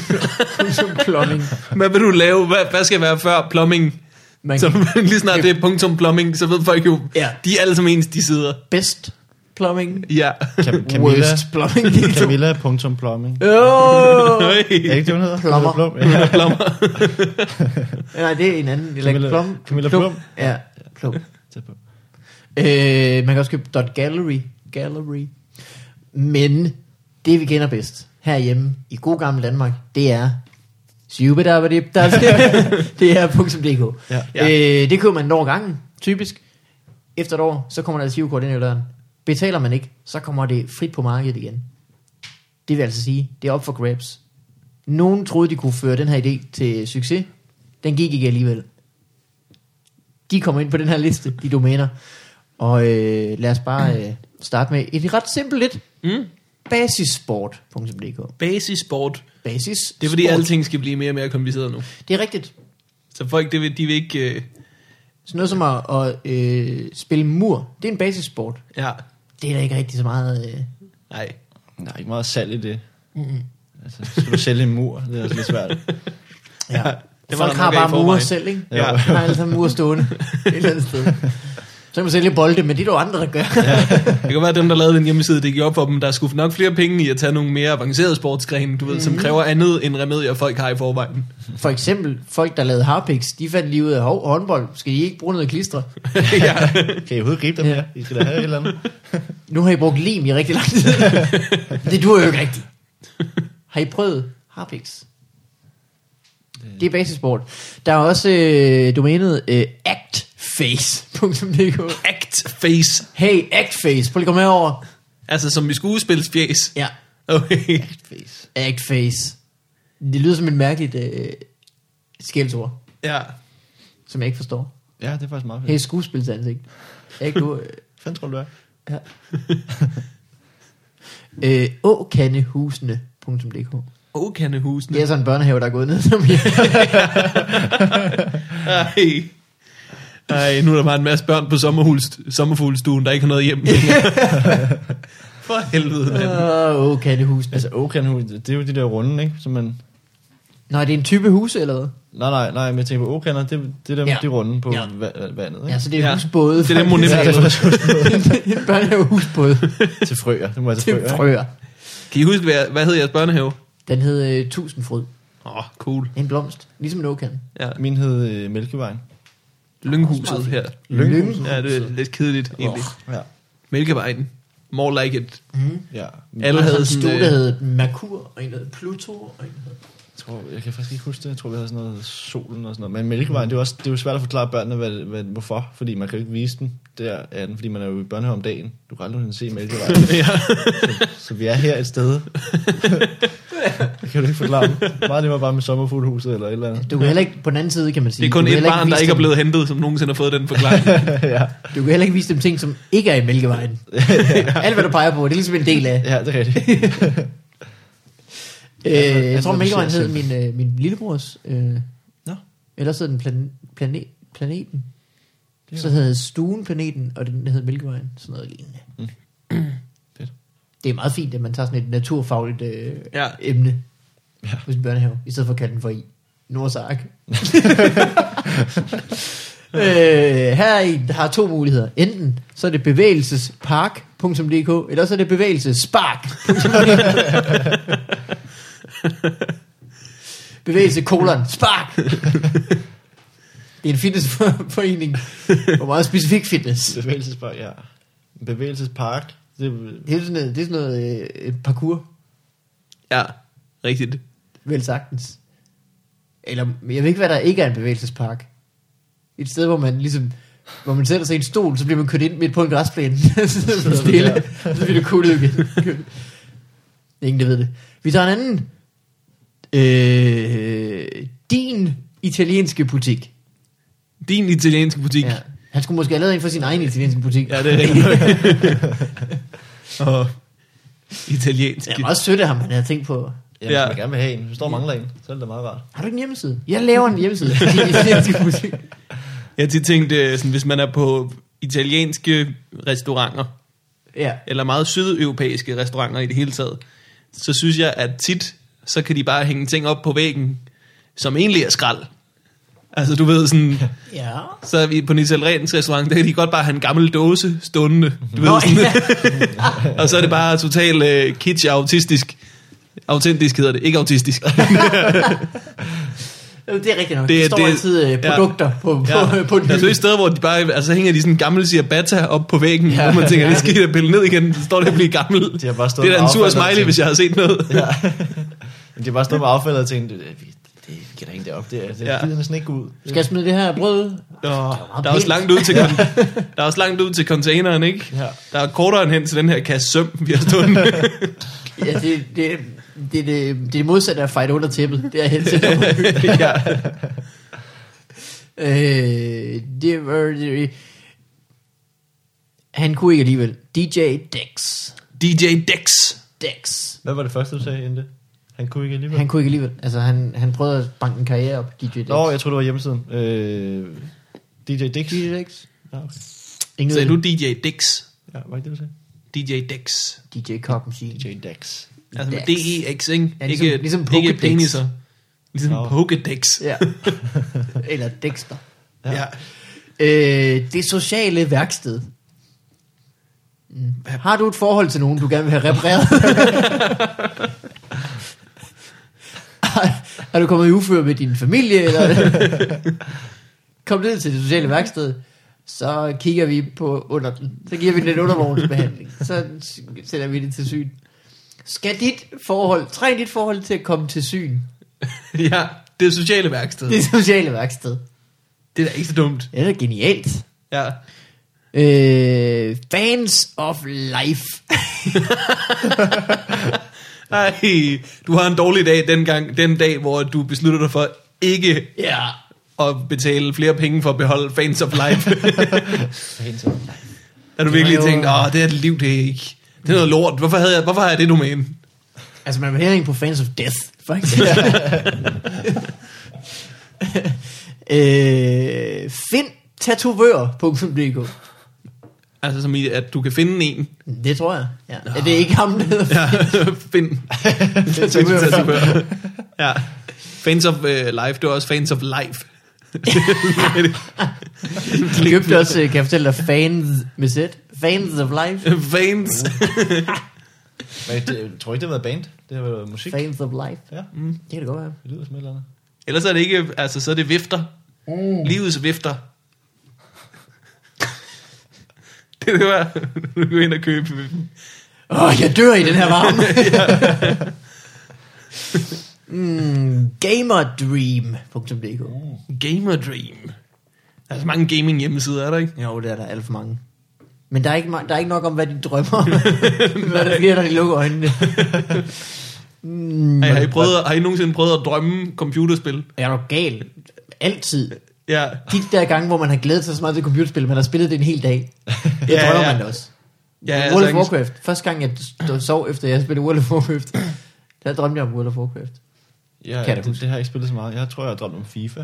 S2: punktum plumbing.
S1: Hvad vil du lave? Hvad, hvad skal være før plumbing?
S2: Man
S1: Så (laughs)
S2: kan
S1: lige snart det er punktum plumbing, så ved folk jo,
S2: Ja.
S1: de er alle som ens, de sidder.
S2: best Plumbing.
S3: (laughs)
S1: Ja.
S3: Cam- Camilla.
S2: Worst plumbing.
S3: Camilla.plumbing.
S2: (laughs)
S1: (laughs)
S2: Åh!
S3: Er det
S1: Hey.
S3: ikke det, hun hedder?
S2: Plummer.
S3: Plum. Ja.
S2: Nej, det er en anden. Eller
S3: Camilla-
S2: Plum.
S3: Camilla Plum.
S2: Ja, Plum.
S3: Tæt på.
S2: Øh, man kan også købe .gallery. Gallery. Men det, vi kender bedst herhjemme i god gammel Danmark, det er syvbedabadibdab. det er .dk.
S3: Ja.
S2: Øh, det køber man en år gangen, typisk. Efter et år, så kommer der et sivkort ind i døren. Betaler man ikke, så kommer det frit på markedet igen. Det vil altså sige, det er op for grabs. Nogen troede, de kunne føre den her idé til succes. Den gik ikke alligevel de kommer ind på den her liste, de domæner. Og øh, lad os bare øh, starte med et ret simpelt lidt.
S1: Mm.
S2: Basisport.dk
S1: Basisport.
S2: Basis
S1: Det er fordi, alting skal blive mere og mere kompliceret nu.
S2: Det er rigtigt.
S1: Så folk, det vil, de vil ikke... Øh,
S2: Sådan noget som at, at øh, spille mur, det er en basissport.
S1: ja,
S2: Det er der ikke rigtig så
S1: (laughs)
S2: meget... Øh.
S1: nej.
S3: Der er ikke meget salg i det. Altså, skal du sælge en mur? Det er også lidt svært.
S2: Ja.
S1: der
S2: Det Folk
S1: nok
S2: har
S1: af i
S2: bare mure
S1: forvejen.
S2: selv, ikke?
S1: Ja.
S2: Ja. De har alle sammen mure stående et eller andet sted. Så kan man sælge bolde, men det er der jo andre, der gør. Ja.
S1: Det kan være, at dem, der lavede den hjemmeside, det gik op for dem. Der skulle nok flere penge i at tage nogle mere avancerede sportsgrene, du ved, som kræver andet end remedier, folk har i forvejen.
S2: For eksempel, folk, der lavede harpiks, de fandt lige ud af, hov, håndbold, skal I ikke bruge noget klistre?
S1: ja.
S3: Kan I overhovedet gribe dem
S2: Ja.
S3: her? I skal da have et eller andet.
S2: Nu har I brugt lim i rigtig lang tid. det duer jo ikke rigtigt. Har I prøvet Harpix? Det er basisport. Der er også øh, domænet øh, actface.dk
S1: Act face.
S2: Hey, actface, prøv lige at komme herover.
S1: Altså som i skuespilsfjæs.
S2: Ja,
S1: (laughs) Okay.
S3: Face.
S2: actface. Det lyder som et mærkeligt øh, skældsord,
S1: Ja.
S2: som jeg ikke forstår.
S3: Ja, det er faktisk meget fedt.
S2: Hey, skuespilsansigt. Act, du, øh,
S3: Hvad fanden tror du, du er?
S2: ja. øh, åkandehusene.dk
S1: Åkandehusene.
S2: Det er sådan en børnehave, der er gået ned. Som jeg.
S1: Ej. Ej, nu er der bare en masse børn på sommerhus, sommerfuglestuen, der ikke har noget hjem. For helvede, mand.
S2: Åh, oh, kattehusene. Altså,
S3: Altså, Åkanhus, det er jo de der runde, ikke? Som man...
S2: nej, det er en type huse, eller hvad?
S3: Nej, nej, nej, men jeg tænker på åkander, det, det er dem,
S2: Ja.
S3: ja. de runde på
S2: Ja.
S3: ja. vandet, ikke? altså,
S2: Ja, så Altså, det er
S3: Ja.
S1: Ja.
S2: ja. husbåde.
S1: Det er dem, hun
S2: faktisk.
S1: nemt
S3: det
S2: (laughs)
S3: er
S2: En børnehavehusbåde.
S1: (laughs)
S3: Til frøer, det må jeg til
S2: Det
S3: frøer.
S2: er frøer.
S3: ikke?
S1: Kan I huske, hvad, hvad hed jeres børnehave?
S2: Den hed øh, Tusindfryd.
S1: Åh, oh, cool.
S2: En blomst. Ligesom en åkan.
S1: Ja.
S3: Min hed øh, Mælkevejen.
S1: Lynghuset her.
S3: Lynghuset.
S1: Ja, det er lidt kedeligt, egentlig.
S3: Ja.
S1: Mælkevejen. More like it.
S3: ja.
S1: Alle havde
S2: en stue,
S1: sådan...
S2: der
S1: Øh,
S2: hed Merkur, og en der hed Pluto, og en der hed...
S3: Jeg, tror, jeg kan faktisk ikke huske det. Jeg tror, vi havde sådan noget solen og sådan noget. Men Mælkevejen, det er, jo også, det er jo svært at forklare børnene, hvad, hvad, hvorfor. Fordi man kan jo ikke vise den der af den, fordi man er jo i børnehave om dagen. Du kan aldrig nogensinde se Mælkevejen.
S1: (laughs) ja.
S3: så vi er her et
S1: (laughs)
S3: sted. det kan du ikke forklare. Meget nemmere bare med sommerfuglehuset eller et eller andet.
S2: Du kan heller ikke, på den anden side kan man sige...
S1: Det er
S2: du
S1: kun
S2: kan
S1: et
S2: heller
S1: barn, der
S2: vise
S1: ikke er
S2: dem-
S1: blevet hentet, som nogensinde har fået den
S2: (laughs)
S1: forklaring.
S3: ja.
S2: Du kan heller ikke vise dem ting, som ikke er i
S1: (laughs)
S2: Mælkevejen. Alt, hvad du peger på, det er ligesom en del af...
S3: ja, det er rigtigt.
S2: Øh,
S3: altså,
S2: jeg tror,
S3: altså,
S2: Mælkevejen
S3: det
S2: hed
S3: ser
S2: min, øh, min lillebrors... Øh,
S1: Nå.
S2: Ellers hed den plan, planet, Planeten.
S3: Det er
S2: Så hed Stuen Planeten, og den hed Mælkevejen. Sådan noget lignende. (clears throat) Mm.
S3: Fedt.
S2: Det er meget fint, at man tager sådan et naturfagligt øh,
S1: Ja.
S2: ja. emne
S3: Ja.
S2: ja. hos en børnehave, i stedet for at kalde den for I. Nordsark. øh, her er en, der har to muligheder. Enten så er det bevægelsespark.dk, eller så er det bevægelsesspark. (laughs) Bevægelse, kolon, spark. Det er en (laughs) fitnessforening. Hvor meget specifik fitness.
S3: Bevægelsespark, ja. Bevægelsespark. Det,
S2: Det er sådan noget, det er sådan noget øh, parkour,
S1: ja, rigtigt.
S2: vel sagtens. Eller, jeg ved ikke, hvad der ikke er en bevægelsespark. Et sted, hvor man ligesom, hvor man sætter sig i en stol, så bliver man kørt ind midt på en græsplæne. (laughs) så sidder man
S3: du
S2: stille,
S3: der.
S2: så bliver du kuttet igen. Ingen, der ved det. Vi tager en anden. Øh, din italienske butik.
S1: Din italienske butik.
S2: Ja. Han skulle måske have lavet en for sin egen italienske butik.
S1: Ja, det er
S2: (laughs)
S1: rigtigt. og italiensk.
S2: Det er meget sødt af ham, han havde tænkt på.
S3: ja, hvis
S1: Ja.
S3: man gerne vil have en. Hvis du står og mangler en, så er det da meget rart.
S2: Har du ikke en hjemmeside? Jeg laver en hjemmeside. for
S1: (laughs)
S2: din italienske butik.
S1: Jeg har tit tænkt, øh, sådan, hvis man er på italienske restauranter,
S2: ja.
S1: eller meget sydeuropæiske restauranter i det hele taget, så synes jeg, at tit, så kan de bare hænge ting op på væggen, som egentlig er skrald. Altså, du ved sådan,
S2: Ja.
S1: så er vi på Nils Elredens restaurant, der kan de godt bare have en gammel dåse stående. Du ved,
S2: Nå,
S1: sådan, (laughs) og så er det bare totalt øh, kitsch autistisk. Autentisk hedder det, ikke autistisk.
S2: Jamen, Det er rigtigt nok.
S1: Det-
S2: Det, der står
S1: det-
S2: altid øh,
S1: ja.
S2: produkter ja. på, på, på den
S1: altså, det er
S2: hylde.
S1: et sted, hvor de bare, altså, hænger de sådan en gammel ciabatta op på væggen, ja.
S2: Ja.
S1: hvor man tænker, det skal jeg da pille ned igen, så står det at blive gammel. Det
S3: har bare
S1: er
S3: stået
S1: da en
S3: med
S1: sur
S3: affald og
S1: smiley,
S3: tænkt-
S1: hvis jeg havde set noget.
S3: Ja. (laughs) Men de har bare stået med affaldet og tænkt, det, det, det kan da ikke op. Det, er- det
S1: Ja.
S3: ja. gider næsten ikke gå ud.
S2: Skal jeg smide det her brød ud?
S1: Nå,
S2: meget
S1: der er også
S2: pænt.
S1: langt ud til, kon- der er også langt ud til containeren, ikke?
S3: Ja.
S1: Der er kortere end hen til den her kasse søm, vi har
S2: (laughs)
S1: stående.
S2: Ja, det, det, det, det, det er det modsatte af at fight under tæppet. Det er helt sikkert. (laughs)
S1: ja.
S2: øh, det var... Det, han kunne ikke alligevel. DJ Dex.
S1: DJ Dex.
S2: Dex.
S3: Hvad var det første, du sagde inden det? Han kunne ikke alligevel.
S2: Han kunne ikke alligevel. Altså, han, han prøvede at banke en karriere op, DJ Dex.
S3: Nå, jeg troede, det var hjemmesiden. Øh, DJ Dix.
S2: DJ Dex.
S3: Ja, okay.
S2: Ingen
S1: Sagde
S2: ved
S1: du
S2: det.
S1: DJ Dex?
S3: ja, var ikke det, du sagde?
S1: DJ Dex.
S2: DJ Cock Machine.
S3: DJ Dex.
S1: Altså med
S2: Dex.
S1: D-E-X, ikke?
S2: Ja, ligesom-
S1: ikke,
S2: ligesom
S1: ikke
S2: Pokédex.
S1: peniser. Ligesom
S3: Nå.
S1: Pokédex.
S2: Ja. (laughs) Eller Dexter.
S1: Ja. ja.
S2: Øh, det sociale værksted. Mm. Har du et forhold til nogen, du gerne vil have repareret? Har- Har du kommet i ufør med din familie? Eller? (laughs) Kom ned til det sociale værksted, så kigger vi på under den. Så giver vi den en undervognsbehandling. Så s- sender vi det til syn. Skal dit forhold, træn dit forhold til at komme til syn.
S1: ja. Det sociale værksted.
S2: Det sociale værksted.
S1: Det er da ikke så dumt.
S2: Det er da genialt.
S1: Ja.
S2: Øh, fans of life.
S1: Ej, du har en dårlig dag den, gang, den dag, hvor du beslutter dig for ikke
S2: Ja.
S1: at betale flere penge for at beholde Fans of Life. Der du virkelig
S2: jo-
S1: tænkt, åh, det er et liv, det er ikke. Det er noget lort. Hvorfor, havde jeg, hvorfor har jeg det domæne?
S2: Altså, man vil heller ikke på fans of death, for eksempel. (laughs) øh, find tatovør.dk
S1: Altså som i, at du kan finde en.
S2: Det tror jeg. Ja. Er det ikke ham, der hedder?
S1: Ja, (laughs) find. Tatovør. ja. Fans of uh, Life, du er også fans of life.
S2: Vi købte også, øh, kan jeg fortælle dig, fans med Z. Fans of life.
S1: (laughs) fans.
S3: Men det, jeg tror ikke, det har været band. Det har været musik.
S2: Fans of life.
S3: Ja,
S2: Det kan det godt være.
S3: det lyder som et eller andet.
S1: Ellers er det ikke, altså så er det vifter.
S2: Mm.
S1: Livets vifter. (laughs) det er det var, du kan gå ind og købe.
S2: Åh, oh, jeg dør i den her varme. (laughs) mm, gamerdream.dk
S1: Gamer Dream. Der er så mange gaming hjemmesider, er der ikke?
S2: Jo, det er der alt for mange. Men der er ikke, ma- der er ikke nok om, hvad de
S1: (laughs)
S2: drømmer om. hvad der sker, når de lukker øjnene.
S1: Har, har, I prøvet, har I nogensinde prøvet at drømme computerspil?
S2: Er du gal? Altid.
S1: Ja.
S2: De der gange, hvor man har glædet sig så meget til computerspil, man har spillet det en hel dag. Det
S1: Ja,
S2: ja, drømmer
S1: ja.
S2: ja. man da også.
S1: Ja, altså,
S2: Ja, World of Warcraft. Første gang, jeg stod- sov efter, jeg spillede World of Warcraft, der drømte jeg om World of Warcraft.
S3: Ja,
S2: Kan jeg da
S3: det,
S2: huske.
S3: det, har jeg ikke spillet så meget. Jeg tror, jeg har drømt om FIFA.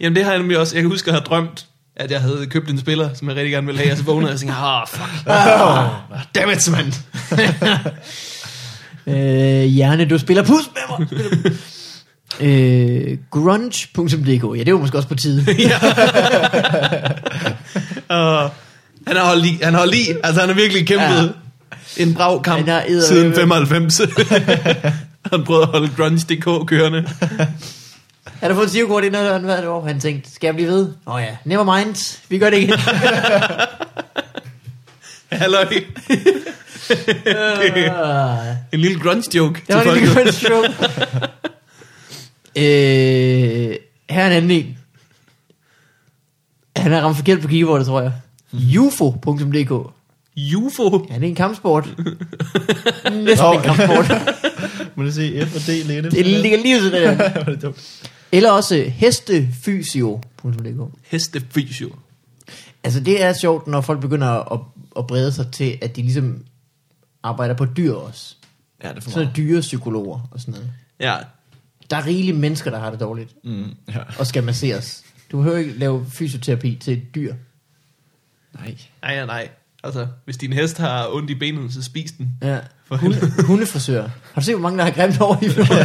S1: Jamen det har jeg nemlig også. Jeg kan huske, at jeg har drømt, at jeg havde købt en spiller, som jeg rigtig gerne ville have, og så vågnede jeg og tænkte, ah, fuck. Ah, damn it, mand.
S2: Øh, Hjerne, du spiller pus med mig. øh, grunge.dk. Ja, det var måske også på tide.
S1: (laughs) ja. uh, han har holdt i. Han har holdt i. Altså, han har virkelig kæmpet ja. en brav kamp
S2: Han har eddermame-
S1: siden 95. (laughs) han prøvede at holde grunge.dk kørende.
S2: Han har fået 20 kort inden han hvert år. Han tænkte, skal jeg blive ved? Åh oh, ja, never mind. Vi gør det igen. (laughs)
S1: Halløj.
S2: Øh,
S1: En lille grunge-joke
S2: det var
S1: til
S2: en lille
S1: folket.
S2: grunge show. øh, her er en anden en. Han har ramt forkert på keyboardet, tror jeg. UFO.dk
S1: UFO.
S2: Ja, det er en (laughs) kampsport. Næsten en kampsport.
S3: Må du sige F og D lidt?
S2: Det
S3: (laughs)
S2: ligger lige til det der.
S3: var det dumt.
S2: Eller også hestefysio.dk
S1: Hestefysio.
S2: Altså det er sjovt, når folk begynder at, at brede sig til, at de ligesom arbejder på dyr også.
S3: Ja, det er for
S2: Sådan
S3: meget.
S2: nogle dyrepsykologer og sådan noget.
S1: Ja.
S2: Der er rigeligt mennesker, der har det dårligt
S3: Mm, ja.
S2: og skal masseres. Du behøver ikke lave fysioterapi til et dyr.
S3: Nej.
S1: Nej, ja, nej. Altså, hvis din hest har ondt i benet, så spis den.
S2: Ja.
S1: For
S2: Hunde, hundeforsøger. Har du set, hvor mange der har grimt over i fjorden?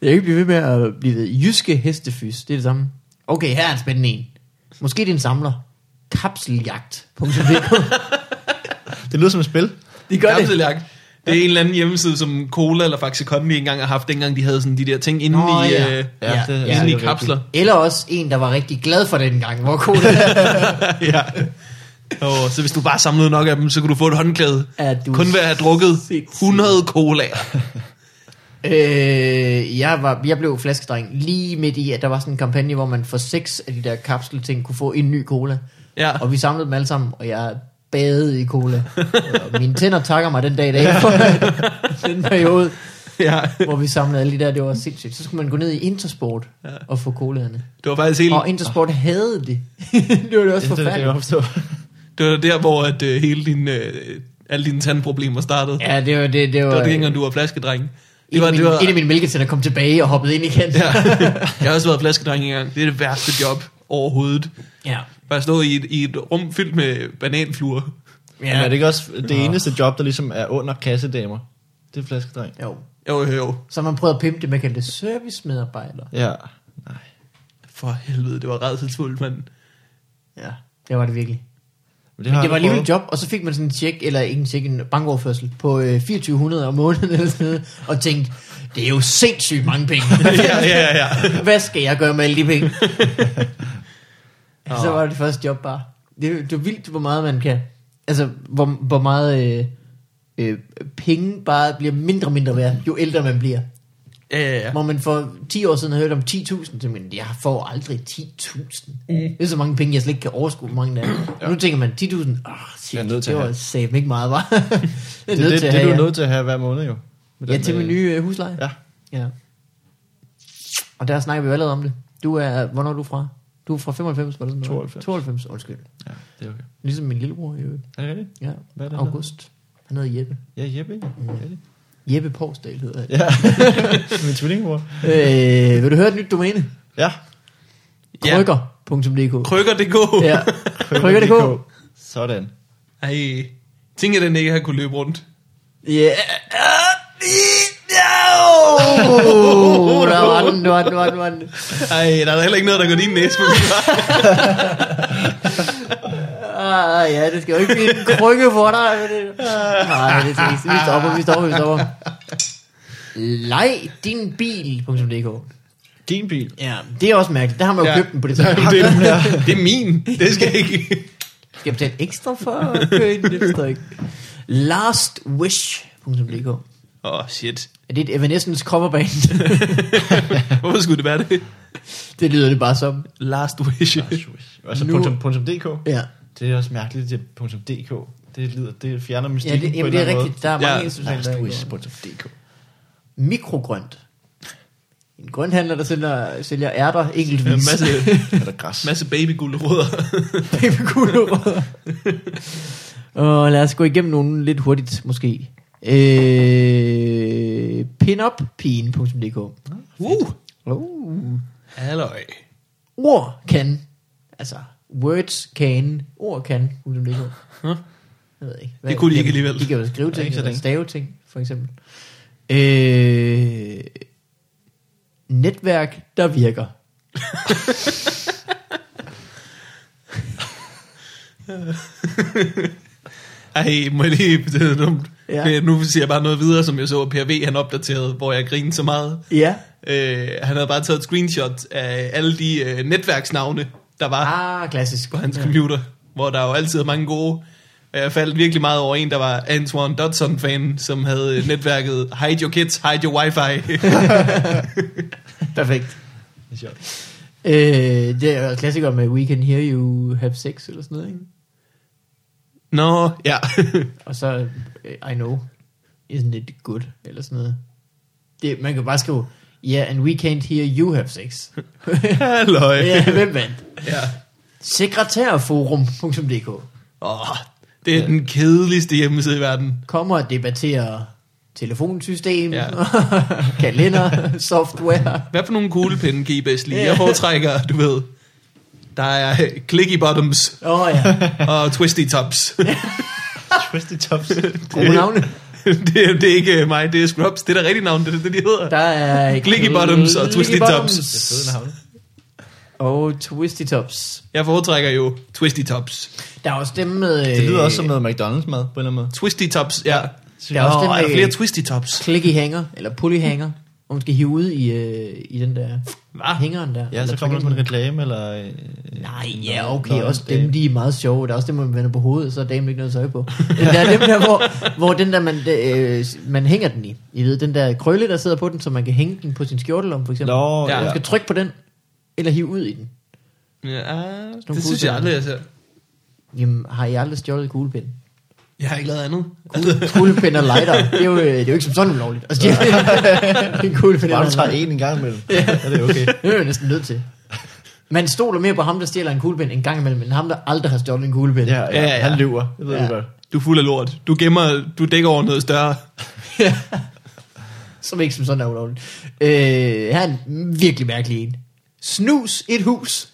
S2: Jeg kan ikke blive ved med at blive ved. Jyske hestefys, det er det samme. Okay, her er en spændende en. Måske det er en samler. Kapseljagt.dk
S3: Det lyder som et spil.
S2: (laughs) De gør det.
S1: Kapseljagt. Det er en eller anden hjemmeside, som Cola eller Faxe Kondi engang har haft, dengang de havde sådan de der ting inde
S2: Nå,
S1: i,
S2: ja.
S1: øh,
S3: Ja,
S2: Ja, ja.
S3: det, ja,
S1: inde
S3: det
S1: i
S3: er
S1: kapsler. (laughs)
S2: Eller også en, der var rigtig glad for den gang, hvor (laughs) cool
S1: ja. Og så hvis du bare samlede nok af dem, så kunne du få et håndklæde.
S2: er du.
S1: Kun ved at have drukket
S2: sindssyg.
S1: 100 colaer.
S2: øh, jeg, var, jeg blev flaskedreng lige midt i, at der var sådan en kampagne, hvor man for seks af de der kapselting kunne få en ny cola.
S1: Ja.
S2: Og vi samlede dem alle sammen, og jeg badede i cola. og mine tænder takker mig den dag i dag for (laughs) den periode,
S1: ja.
S2: hvor vi samlede alle de der. Det var sindssygt. Så skulle man gå ned i Intersport og få colaerne.
S1: Det var faktisk hele,
S2: Og Intersport havde det. (laughs) det var Ah. det også
S3: Det, det, det, kan
S2: forfærdeligt.
S3: jeg godt forstå.
S1: det var der, hvor at, øh, hele din, øh, alle dine tandproblemer startede.
S2: Ja, det var det. Det var,
S1: Det var dengang, du var flaskedreng.
S2: Det var, det var... En af
S1: ja.
S2: mine mælketænder kom tilbage og hoppede ind
S1: (laughs)
S2: igen.
S1: Jeg har også været flaskedreng engang. Det er det værste job overhovedet.
S2: (laughs) ja.
S1: Bare stå i et, i et rum fyldt med bananfluer.
S3: Ja. Men er
S2: ja.
S3: det ikke også det eneste job, der ligesom er under kassedamer? Det er flaskedreng.
S2: Jo.
S1: Jo, jo, jo.
S2: Så man prøvede at pimpe det, man kaldte det servicemedarbejder.
S3: Ja. Nej.
S1: For helvede, det var redselsfuldt, mand.
S2: Ja, det var det virkelig.
S3: Men
S2: Men
S3: har
S2: det var
S3: jeg
S2: alligevel
S3: prøvet.
S2: et job, og så fik man sådan en tjek, eller ikke en tjek, en bankoverførsel på øh, 2400 om måneden eller sådan noget, og tænkte, det er jo sindssygt mange penge.
S1: (laughs) ja, ja, ja.
S2: (laughs) Hvad skal jeg gøre med alle de
S1: (laughs)
S2: penge? så var det det første job bare. Det, det er vildt, hvor meget man kan. Altså, hvor, hvor meget øh, øh, penge bare bliver mindre og mindre værd, jo ældre man bliver.
S1: Ja, ja, ja.
S2: Hvor man for 10 år siden havde hørt om 10.000, så men jeg får aldrig 10.000. Mm. Det er så mange penge, jeg slet ikke kan overskue, hvor mange der er. Ja. Nu tænker man, 10.000, oh, shit,
S3: Jeg er
S2: jeg
S3: nødt til
S2: det
S3: at
S2: var
S3: have.
S2: save ikke meget, (laughs) var.
S3: Det er det, det, det, du er nødt til at have hver måned jo. Med
S2: ja. ja,
S3: den,
S2: til min
S3: øh,
S2: nye øh, husleje.
S3: Ja.
S2: ja. Og der snakker vi jo allerede om det. Du er, hvornår er du fra? Du er fra 95, var det sådan noget?
S3: 92.
S2: 92, undskyld.
S3: ja, det er okay.
S2: Ligesom min lillebror i øvrigt.
S3: Er det rigtigt?
S2: Ja,
S3: Hvad er det, han
S2: August. Han hedder Jeppe.
S3: Ja, Jeppe. ikke? Er det?
S2: Jeppe Porsdal hedder han.
S3: Ja. (laughs) min tvillingbror.
S2: Øh, vil du høre et nyt domæne?
S3: Ja.
S1: Ja.
S2: Krykker.dk
S1: Krykker.dk.
S3: (laughs)
S2: Ja, krykker.dk
S3: Sådan.
S1: (laughs) Ej, tænk, at den ikke har kunne løbe rundt.
S2: Yeah. No! Der var den, der var den, der var den, der var den.
S1: Ej, der er da heller ikke noget, der går din næse forbi.
S2: Ah, ja, det skal jo ikke blive en krykke for dig. men det- Nej, det er trist. Vi stopper, vi stopper, vi stopper. Leg din bil.dk
S3: Din bil.
S2: Ja, det er også mærkeligt. Der har man jo
S1: Ja.
S2: købt den på det tidspunkt.
S1: Det, det er min. Det skal ikke.
S2: Skal jeg betale ekstra for at køre ind? Det forstår jeg ikke. Lastwish.dk
S1: Åh, oh, shit.
S2: Er det et Evanescence coverband? (laughs)
S1: Hvorfor skulle det være (laughs) det?
S2: det lyder det bare som.
S1: Last wish.
S3: Og så
S2: Nu-
S3: punktum, punktum .dk.
S2: Ja,
S3: Det er også mærkeligt, det er punktum .dk. Det, lyder, det fjerner
S2: ja
S3: mystikken
S2: det, jamen, det er rigtigt. Der er mange
S1: Ja.
S2: ja. institutioner, der ikke går.
S3: Lastwish.dk.
S2: mikrogrønt. En grønthandler, der sælger, sælger ærter
S1: En
S2: enkeltvis. (laughs)
S1: masse,
S3: Er der græs?
S1: masse babygulerødder.
S2: Babygulerødder. Og lad os gå igennem nogle lidt hurtigt, måske. Øh, pinuppigen.dk
S1: Uh,
S2: uh.
S1: halløj.
S2: Ord kan. Altså, words can. Ord kan.dk Jeg ved ikke. Hvad,
S1: Det kunne de ikke alligevel.
S2: De kan jo skrive
S3: ikke
S2: ting,
S3: så
S2: eller
S3: længe.
S2: stave ting, for eksempel. Øh, netværk, der virker.
S1: Ej, må jeg lige... Det er dumt.
S2: Ja.
S1: Ja. Nu siger jeg bare noget videre, som jeg så, at Per V, han opdaterede, hvor jeg grinede så meget.
S2: Ja.
S1: Øh, han havde bare taget et screenshot af alle de øh, netværksnavne, der var.
S2: Ah, klassisk.
S1: på hans computer, hvor der jo altid er mange gode. Og jeg faldt virkelig meget over en, der var Antoine Dodson-fan, som havde øh, netværket Hide your kids, hide your wifi. (laughs)
S2: Perfekt.
S3: Det er sjovt.
S2: Øh, det er jo klassiker med We Can Hear You Have Sex eller sådan noget, ikke?
S1: Nå, ja. (laughs)
S2: Og så øh, I Know Isn't It Good eller sådan noget. Det, man kan bare skrive, Yeah, and we can't hear you have
S1: (laughs)
S2: sex.
S1: Halløj.
S2: ja, hvem vandt?
S1: Ja.
S2: Sekretærforum.dk
S1: Åh, det er den kedeligste hjemmeside i verden.
S2: Kommer og debatterer telefonsystem,
S1: Ja.
S2: ja. (laughs)
S1: (laughs)
S2: kalender, software.
S1: Hvad for nogle kuglepinde kan I bedst lide? Jeg foretrækker, du ved, der er øh, clicky bottoms
S2: Åh oh, ja,
S1: og twisty tops. (laughs)
S3: Twisty Tops.
S2: gode navne.
S1: det, er, det er ikke øh, mig, det er Scrubs. Det er da rigtigt navn, det er det, de hedder.
S2: Der
S1: (laughs)
S2: er...
S1: Clicky Bottoms og
S2: Clicky
S1: Twisty
S2: Bottoms
S1: Tops.
S2: Og Twisty Tops.
S1: Jeg foretrækker jo Twisty Tops.
S2: Der er også dem med... øh,
S3: Det lyder også som noget McDonald's-mad, på en eller anden måde.
S1: Twisty Tops, ja.
S2: Der er også øh,
S1: Nå,
S2: dem
S1: er der
S2: med-
S1: flere Twisty Tops?
S2: Clicky hanger, eller pulley hanger, hvor man skal hive ud i, øh, i den der...
S1: Hva?
S2: Hængeren der.
S3: Ah. Ja,
S2: Eller
S3: så kommer der
S2: trykker
S3: på en reklame, eller... øh,
S2: Nej,
S3: Nå,
S2: ja, okay,
S3: nå,
S2: også
S3: det-
S2: dem, de er meget sjove. Der er også dem, hvor man vender på hovedet, så er damen ikke noget tøj på. Der er dem der, hvor, hvor den der, man, øh, man hænger den i. I ved, den der krølle, der sidder på den, så man kan hænge den på sin skjortelom, for eksempel.
S3: Nå,
S1: Ja.
S3: ja.
S2: Man
S3: ja.
S2: skal trykke på den, eller hive ud i den.
S1: Ja, det
S2: gode
S1: synes jeg
S2: ting.
S1: aldrig, jeg ser.
S2: Jamen, har I aldrig stjålet kuglepind?
S1: Jeg har ikke lavet andet.
S2: Kuglepind og lighter, det er jo, øh, det er jo ikke som sådan ulovligt. Altså, det er
S3: (laughs)
S2: en kuglepind og
S3: Bare du tager
S2: (laughs) lighter.
S3: en en gang imellem. ja. Er det okay?
S2: Det er jeg næsten nødt til. Man stoler mere på ham, der stjæler en kuglepind en gang imellem, end ham, der aldrig har stjålet en kuglepind.
S3: Ja, ja,
S1: Ja, ja.
S3: ja. Han lyver. Det ved
S2: Ja.
S3: du
S1: (laughs)
S3: godt.
S1: (laughs) Du er fuld af lort. Du gemmer, du dækker over noget større. (laughs)
S2: (laughs) som ikke som sådan er ulovligt. Øh, her er en virkelig mærkelig en. Snus et hus.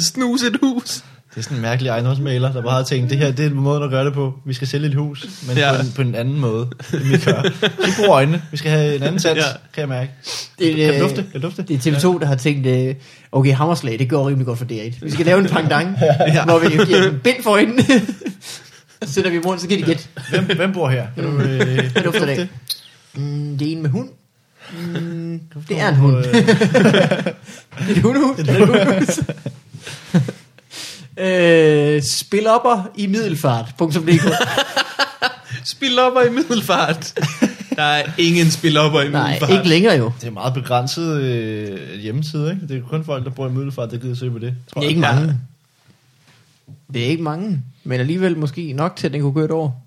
S1: Snus et hus.
S3: Det er sådan en mærkelig ejendomsmaler, der bare har tænkt, det her det er en måde at gøre det på. Vi skal sælge et hus, men
S1: Ja.
S3: ja. på, en, på en anden måde, end vi gør. Vi bruger øjnene. Vi skal have en anden sans,
S1: Ja.
S3: ja. kan jeg mærke.
S2: Det,
S3: Kan
S2: øh,
S3: jeg dufte? Kan jeg dufte?
S2: Det er TV2, der har tænkt, øh, okay, Hammerslag, det går rimelig godt for DR1. Vi skal lave en
S3: (laughs)
S2: pangdang,
S1: Ja.
S2: ja. hvor vi giver dem bind for hende. (laughs) så sætter vi i morgen, så kan de gætte.
S3: Hvem, hvem bor her? Kan du, øh,
S2: (laughs) Hvad
S3: kan du
S2: dufter det? af?
S3: dufte?
S2: Mm, det er en med hund. Mm, (laughs) det er en hund. Det er (laughs) et hundehus. Det er et hundehus. (laughs) øh, spilopper i middelfart.dk
S1: Spilopper i
S2: (laughs)
S1: middelfart. Der er ingen spilopper i
S2: Nej,
S1: middelfart.
S2: ikke længere jo.
S3: Det er meget begrænset øh, hjemmeside, ikke? Det er kun folk, der bor i Middelfart, der gider søge på det. tror
S2: Det er
S3: jeg.
S2: ikke mange. Det er ikke mange, men alligevel måske nok til, at den kunne køre et år.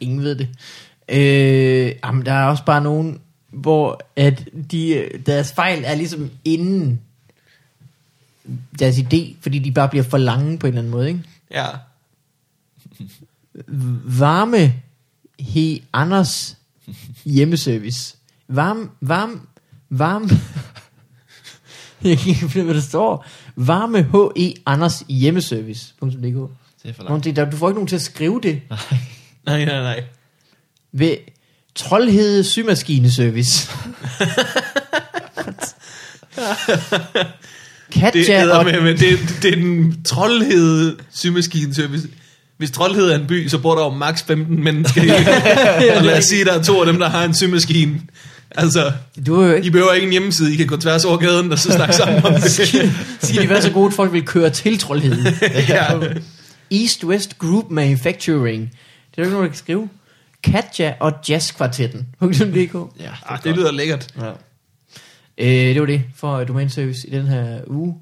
S2: Ingen ved det. Øh, jamen, der er også bare nogen, hvor at de, øh, deres fejl er ligesom inden deres idé, fordi de bare bliver for lange på en eller anden måde. Ikke?
S1: Ja.
S2: Varme he Anders hjemmeservice. Varm, varm, varm. (laughs) Jeg kan ikke finde, ud af, hvad der står. Varme he Anders hjemmeservice.dk.
S3: Det er for langt.
S2: Nå, det er der- Du får ikke nogen til at skrive det.
S1: Nej, nej, nej.
S2: Ved
S1: (laughs)
S2: Troldhede Symaskineservice.
S1: Det,
S2: Katja
S1: ja,
S2: og...
S1: med, men det, det er den troldhed symaskineservice. Hvis troldhed er en by, så bor der jo maks 15 mennesker
S2: (laughs)
S1: i. Og lad os sige, at der er to af dem, der har en symaskine. Altså,
S2: Du er jo
S1: I
S2: ikke...
S1: behøver ikke en hjemmeside. I kan gå tværs over gaden og så snakke sammen om det.
S2: Skal de være så gode, at folk vil køre til Troldhede?
S1: (laughs) ja.
S2: East West Group Manufacturing. Det er jo ikke nogen, der kan skrive. Katja og Jazzkvartetten. .dk.
S3: Ja, det er
S1: Ah, det lyder lækkert.
S2: Ja. Øh, det var det for øh, Domain Service i den her uge.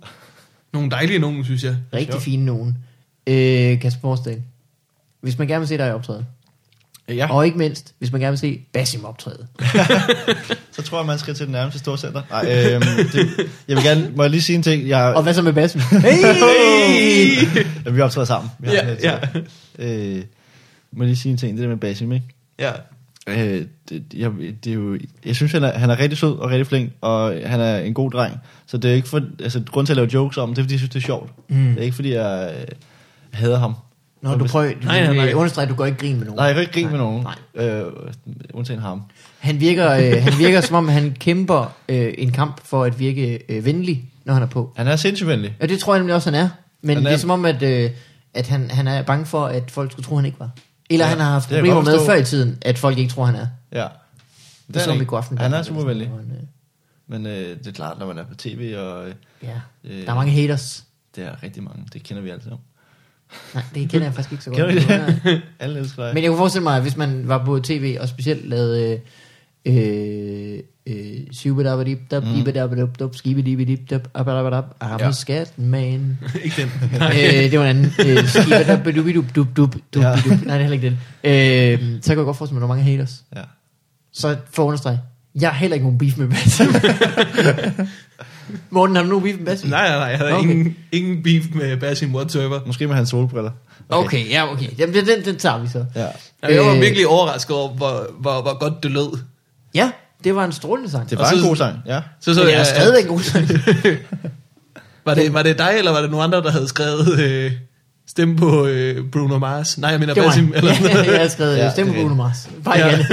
S1: Nogle dejlige nogen, synes jeg.
S2: Rigtig fine nogen. Øh, Kasper Borsdal. Hvis man gerne vil se dig i optræde.
S3: Ja,
S2: Og ikke mindst, hvis man gerne vil se Basim optræde.
S3: så tror jeg, man skal til den nærmeste storcenter. Nej, øhm, det, jeg vil gerne, må jeg lige sige en ting? Jeg,
S2: Og hvad så med
S3: (laughs)
S2: Basim? Hey!
S3: Ja, vi optræder sammen. Vi har
S1: Ja,
S3: sådan et- Øh, må jeg lige sige en ting, det der med Basim, ikke?
S1: Ja.
S3: Øh, det, jeg, det er jo, jeg synes, han er, han er rigtig sød og rigtig flink, og han er en god dreng. Så det er ikke for, altså, grund til at lave jokes om, det er fordi, jeg synes, det er sjovt. Mm. Det er ikke fordi, jeg øh, hader ham.
S2: Nå, du prøver, du,
S1: Nej, nej, nej.
S2: nej. understreger, at du går ikke grin med nogen.
S3: Nej, jeg kan ikke grine med nogen,
S2: Nej.
S3: øh, undtagen ham.
S2: Han virker, øh, han virker som om, han kæmper øh, en kamp for at virke øh, venlig, når han er på.
S3: Han er sindssygt venlig.
S2: Og det tror jeg nemlig også, han er. Men
S3: Han
S2: han
S3: er-
S2: er... det er som om, at, øh, at han, han er bange for, at folk skulle tro, han ikke var. Eller
S3: Ja,
S2: ja, han har haft
S3: det kan jeg
S2: problemer med
S3: godt forstå.
S2: før i tiden, at folk ikke tror, han er.
S3: Ja.
S2: Det er som
S3: han
S2: i
S3: ikke.
S2: går aften.
S3: Han er
S2: Danmark,
S3: super venlig.
S2: hvor han, øh,
S3: Men øh, det er klart, når man er på tv, og øh,
S2: Ja.
S3: Øh.
S2: Der er mange haters.
S3: det er rigtig mange. Det kender vi alle sammen.
S2: Nej, det kender jeg faktisk ikke så godt.
S3: Kender
S2: Nej.
S3: vi det? (laughs) alle elsker dig.
S2: Men jeg kunne forestille mig, at hvis man var på tv og specielt lavede... Øh, øh, øh,
S1: Mm.
S2: Subadabadibdab, ibadabadabdab, skibidibidibdab, abadabadab,
S3: Ja.
S2: I'm skat, man.
S1: (laughs) Ikke den.
S2: øh, det var en anden. Øh,
S1: (laughs)
S2: skibadabadubidubdub,
S3: Ja.
S2: Nej, det er heller ikke den. Øh, så kan jeg godt forestille mig, at der er mange haters.
S3: Ja.
S2: Så for at understrege, jeg har heller ikke nogen beef med
S1: (laughs)
S2: Basim. Morten, har du nogen beef med Basim?
S1: Nej, nej, nej. Jeg havde okay.
S2: Okay.
S1: ingen, ingen beef med Basim whatsoever.
S3: Måske med hans solbriller.
S2: Okay, okay ja, okay. Jamen, den, den, den tager vi så.
S3: Ja.
S1: Jeg var
S2: Øh.
S1: virkelig overrasket over, hvor, hvor, hvor godt det lød.
S2: Ja, det var en strålende sang.
S3: Det
S1: Og
S3: var
S1: så-
S3: en god sang, ja.
S1: Så
S2: Men det er
S1: jeg,
S2: stadigvæk en god sang.
S1: (laughs) Var det, var det dig, eller var det nogen andre, der havde skrevet øh, Stemme på øh, Bruno Mars. Nej, jeg mener
S2: Det var
S1: Basim.
S2: han. (laughs)
S1: Eller sådan
S2: ja,
S1: noget.
S2: jeg
S1: (laughs)
S2: havde skrevet
S3: Ja,
S2: ja, stemme
S3: det
S2: på
S3: er
S2: Bruno Mars. Bare
S1: Ja.
S2: ja.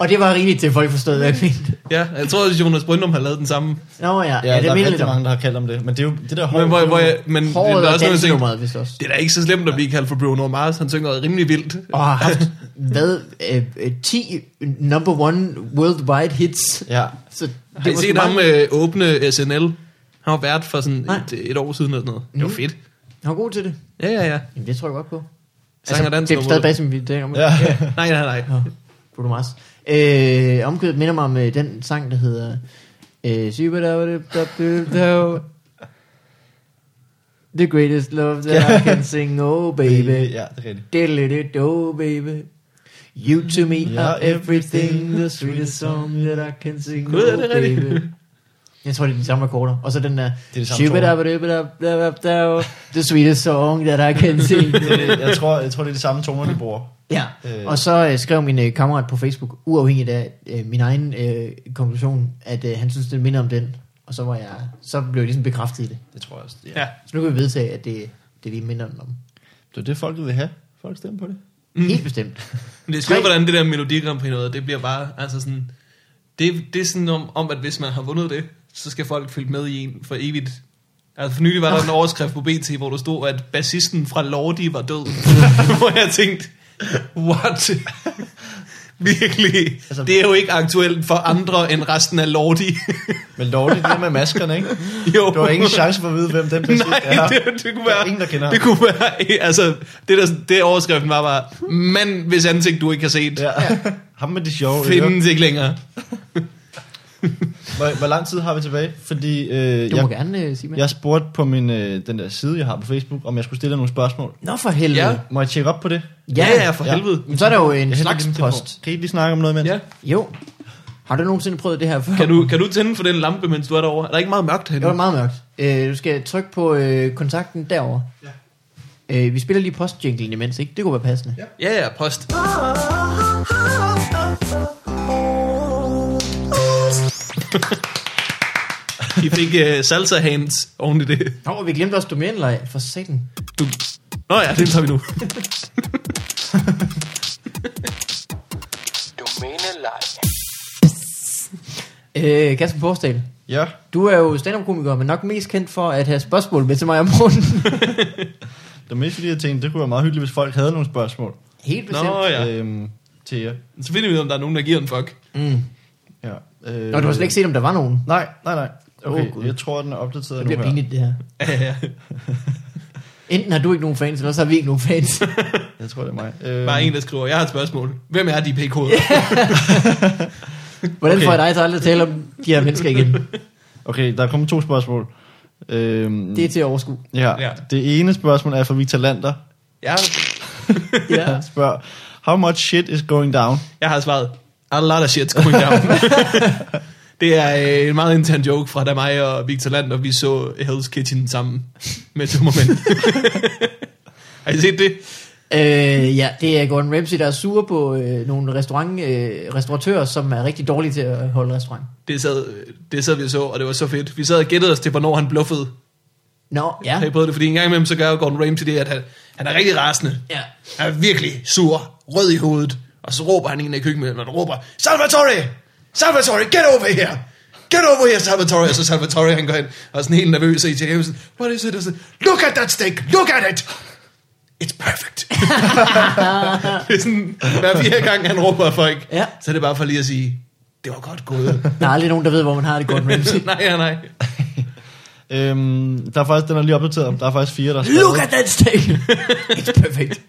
S2: Og det var rigeligt til, at folk forstod, hvad jeg mente.
S1: ja, jeg tror, at Jonas Brøndum har lavet den samme.
S2: Nå ja,
S3: Ja,
S2: ja det
S3: der er
S2: mener
S3: rigtig
S2: jeg.
S3: mange, der har kaldt om det. Men det er jo det der hår.
S1: Men, hvor, hvor jeg, men det,
S2: Håret
S1: der er
S2: og
S1: også noget, jeg tænker,
S2: dansenummeret, hvis også.
S1: det er da ikke så slemt at blive kaldt for Bruno Mars. Han synger rimelig vildt.
S2: Og har
S1: (laughs)
S2: haft, hvad, øh, øh, 10 number one worldwide hits.
S3: Ja.
S2: Så det
S1: Har I
S2: var
S1: set
S2: sgu
S1: ham
S2: meget-
S1: øh, åbne SNL? Han var vært for sådan
S2: Nej.
S1: et, et år siden eller sådan noget. Det var
S2: Mhm.
S1: fedt.
S2: Han var god til det.
S1: Ja, ja, ja.
S2: Jamen, det tror jeg godt på.
S1: Sang og dans
S2: Altså, det er
S1: nummer.
S2: stadig Basim, vi taler om.
S3: Ja.
S2: Ja.
S1: Nej, nej, nej.
S2: Bruno Mars. Øh, omkødet minder mig om øh, den sang, der hedder... Øh, Superdabbeldabbeldav. The greatest love that I
S3: (laughs)
S2: can sing, oh baby.
S3: Ja, det er rigtigt.
S2: Diddle-dit, oh baby. You to me
S3: Ja,
S2: are everything, the sweetest song that I can sing,
S1: Gud, er
S2: oh
S1: det
S2: baby.
S1: rigtigt?
S2: Jeg tror, det er de samme akkorder. Og så den der...
S3: Det er de samme
S2: Shubidabidabidabidabidab, The sweetest song that I can
S3: (laughs)
S2: sing.
S3: Jeg tror, jeg tror, det er de samme toner, de bruger.
S2: Ja,
S3: Øh.
S2: øh. og så øh, skrev min øh, kammerat på Facebook, uafhængigt af øh, min egen øh, konklusion, at øh, han synes, det minder om den. Og så, var jeg, så blev jeg ligesom bekræftet i det.
S3: Det tror jeg også.
S1: Ja.
S2: Så nu kan vi vedtage, at det, det vi minder om.
S3: Det er det, folk vil have. Folk stemmer på det.
S2: Mm. Helt bestemt.
S1: Men det er skørt,
S2: Tre.
S1: hvordan det der Melodi Grand Prix noget, det bliver bare, altså sådan, det, det er sådan om, om, at hvis man har vundet det, så skal folk følge med i en for evigt. Altså for nylig var der en overskrift på BT, hvor der stod, at bassisten fra Lordi var
S3: (laughs)
S1: død. hvor jeg tænkte, what? Virkelig,
S3: Altså-
S1: altså, det er jo ikke aktuelt for andre end resten af Lordi. (laughs)
S3: Men lovligt det der med maskerne, ikke?
S1: jo.
S3: Du har ingen chance for at vide, hvem den præcis
S1: Nej,
S3: er.
S1: det, det kunne
S3: Der er
S1: være...
S3: ingen, der kender ham.
S1: det kunne være... Altså, det, der, det overskriften var bare, mand, hvis ansigt du ikke har set, ja.
S3: Ja. Ham med de sjove ører.
S1: findes ikke længere.
S3: Hvor, hvor lang tid har vi tilbage? Fordi øh,
S2: Du må
S3: jeg,
S2: gerne øh, sige mere. Ja.
S3: jeg spurgte på min, øh, den der side, jeg har på Facebook, om jeg skulle stille dig nogle spørgsmål.
S2: Nå for helvede.
S1: Ja.
S2: Ja,
S3: Må jeg tjekke op på det?
S1: Ja, ja, for
S3: Ja.
S1: helvede.
S2: Men så er der jo en
S3: Jeg henter
S2: slags
S3: lige min telefon.
S2: post.
S3: Kan I ikke lige snakke om noget imens?
S1: Ja.
S2: Jo. Har du nogensinde prøvet det her før?
S1: Kan du, kan du tænde for den lampe, mens du er derovre? Er der ikke meget mørkt
S2: Det var
S1: herinde?
S2: meget mørkt. Øh, du skal trykke på øh, kontakten derovre. Ja. Øh, vi spiller lige postjinglen imens, ikke? Det kunne være passende. Ja.
S1: Ja, ja, post.
S4: Ah, ah.
S1: I fik uh, salsa hands oven i det.
S2: Nå, og vi glemte også domænelej. For satan.
S1: Du. Nå ja, det tager vi nu.
S5: Domænelej.
S2: Øh, Kasper Borsdal,
S3: ja.
S2: du er jo stand-up-komiker, men nok mest kendt for at have spørgsmål med til mig om morgenen. (laughs)
S3: Det var mest fordi, jeg tænkte, det kunne være meget hyggeligt, hvis folk havde nogle spørgsmål
S2: Helt
S1: Nå
S2: bestemt. Nå,
S1: ja,
S3: øhm, til jer.
S1: så finder vi ud af, om der er nogen, der giver en fuck.
S3: Ja. Øh,
S2: Mm. Nå, du har slet ikke set, om der var nogen.
S3: Nej, nej, nej. Okay,
S2: Åh,
S3: oh,
S2: Gud.
S3: jeg tror, den er opdateret
S2: Det
S3: nu
S2: bliver
S3: her.
S2: pinligt, det her.
S1: Ja, ja.
S2: Enten har du ikke nogen fans, eller så har vi ikke nogen fans.
S3: Jeg tror, det er mig. Øh,
S1: Bare en, der skriver, jeg har et spørgsmål. Hvem er de pk-koder?
S2: Hvordan
S3: Okay.
S2: okay. får jeg dig til aldrig at tale om de her mennesker igen?
S3: Okay, der er kommet to spørgsmål. Øhm,
S2: Det er til at overskue.
S3: ja.
S1: Ja.
S3: Det ene spørgsmål er fra Victor Lander.
S1: Ja,
S2: Ja.
S3: Han spørger, how much shit is going down?
S1: jeg har svaret. A lot of shit's going down. (laughs) det er øh, en meget intern joke fra da mig og Victor Land, og vi så Hell's Kitchen sammen med Tømmermænd. (laughs) har I set det?
S2: Øh, ja, det er Gordon Ramsay, der er sur på øh, nogle restaurant, øh, restauratører, som er rigtig dårlige til at holde restaurant.
S1: Det sad, øh, det sad vi og så, og det var så fedt. Vi sad og gættede os til, hvornår han bluffede.
S2: Nå,
S1: Ja.
S2: ja.
S1: Har I prøvet det? Fordi en gang imellem, så gør Gordon Ramsay det, at han, han er rigtig rasende.
S2: ja.
S1: Han er virkelig sur, rød i hovedet. Og så råber han en af køkkenmændene, og råber, Salvatore! Salvatore, get over here! Get over here, Salvatore! Og så Salvatore, han går hen, og er sådan helt nervøs, og italiensk, sådan, what is it? Og så, look at that steak! Look at it! It's perfect! (laughs) det er sådan, hver fire gang, han råber af folk,
S2: Ja.
S1: så er det bare for lige at sige, det var godt gået.
S2: Der er aldrig nogen, der ved, hvor man har det,
S1: (laughs)
S2: Gordon Ramsay.
S3: (laughs)
S1: nej, ja, nej.
S3: Øhm, der er faktisk, den er lige opdateret. Der er faktisk fire, der er
S2: Look at
S3: skrevet.
S2: that steak! It's perfect.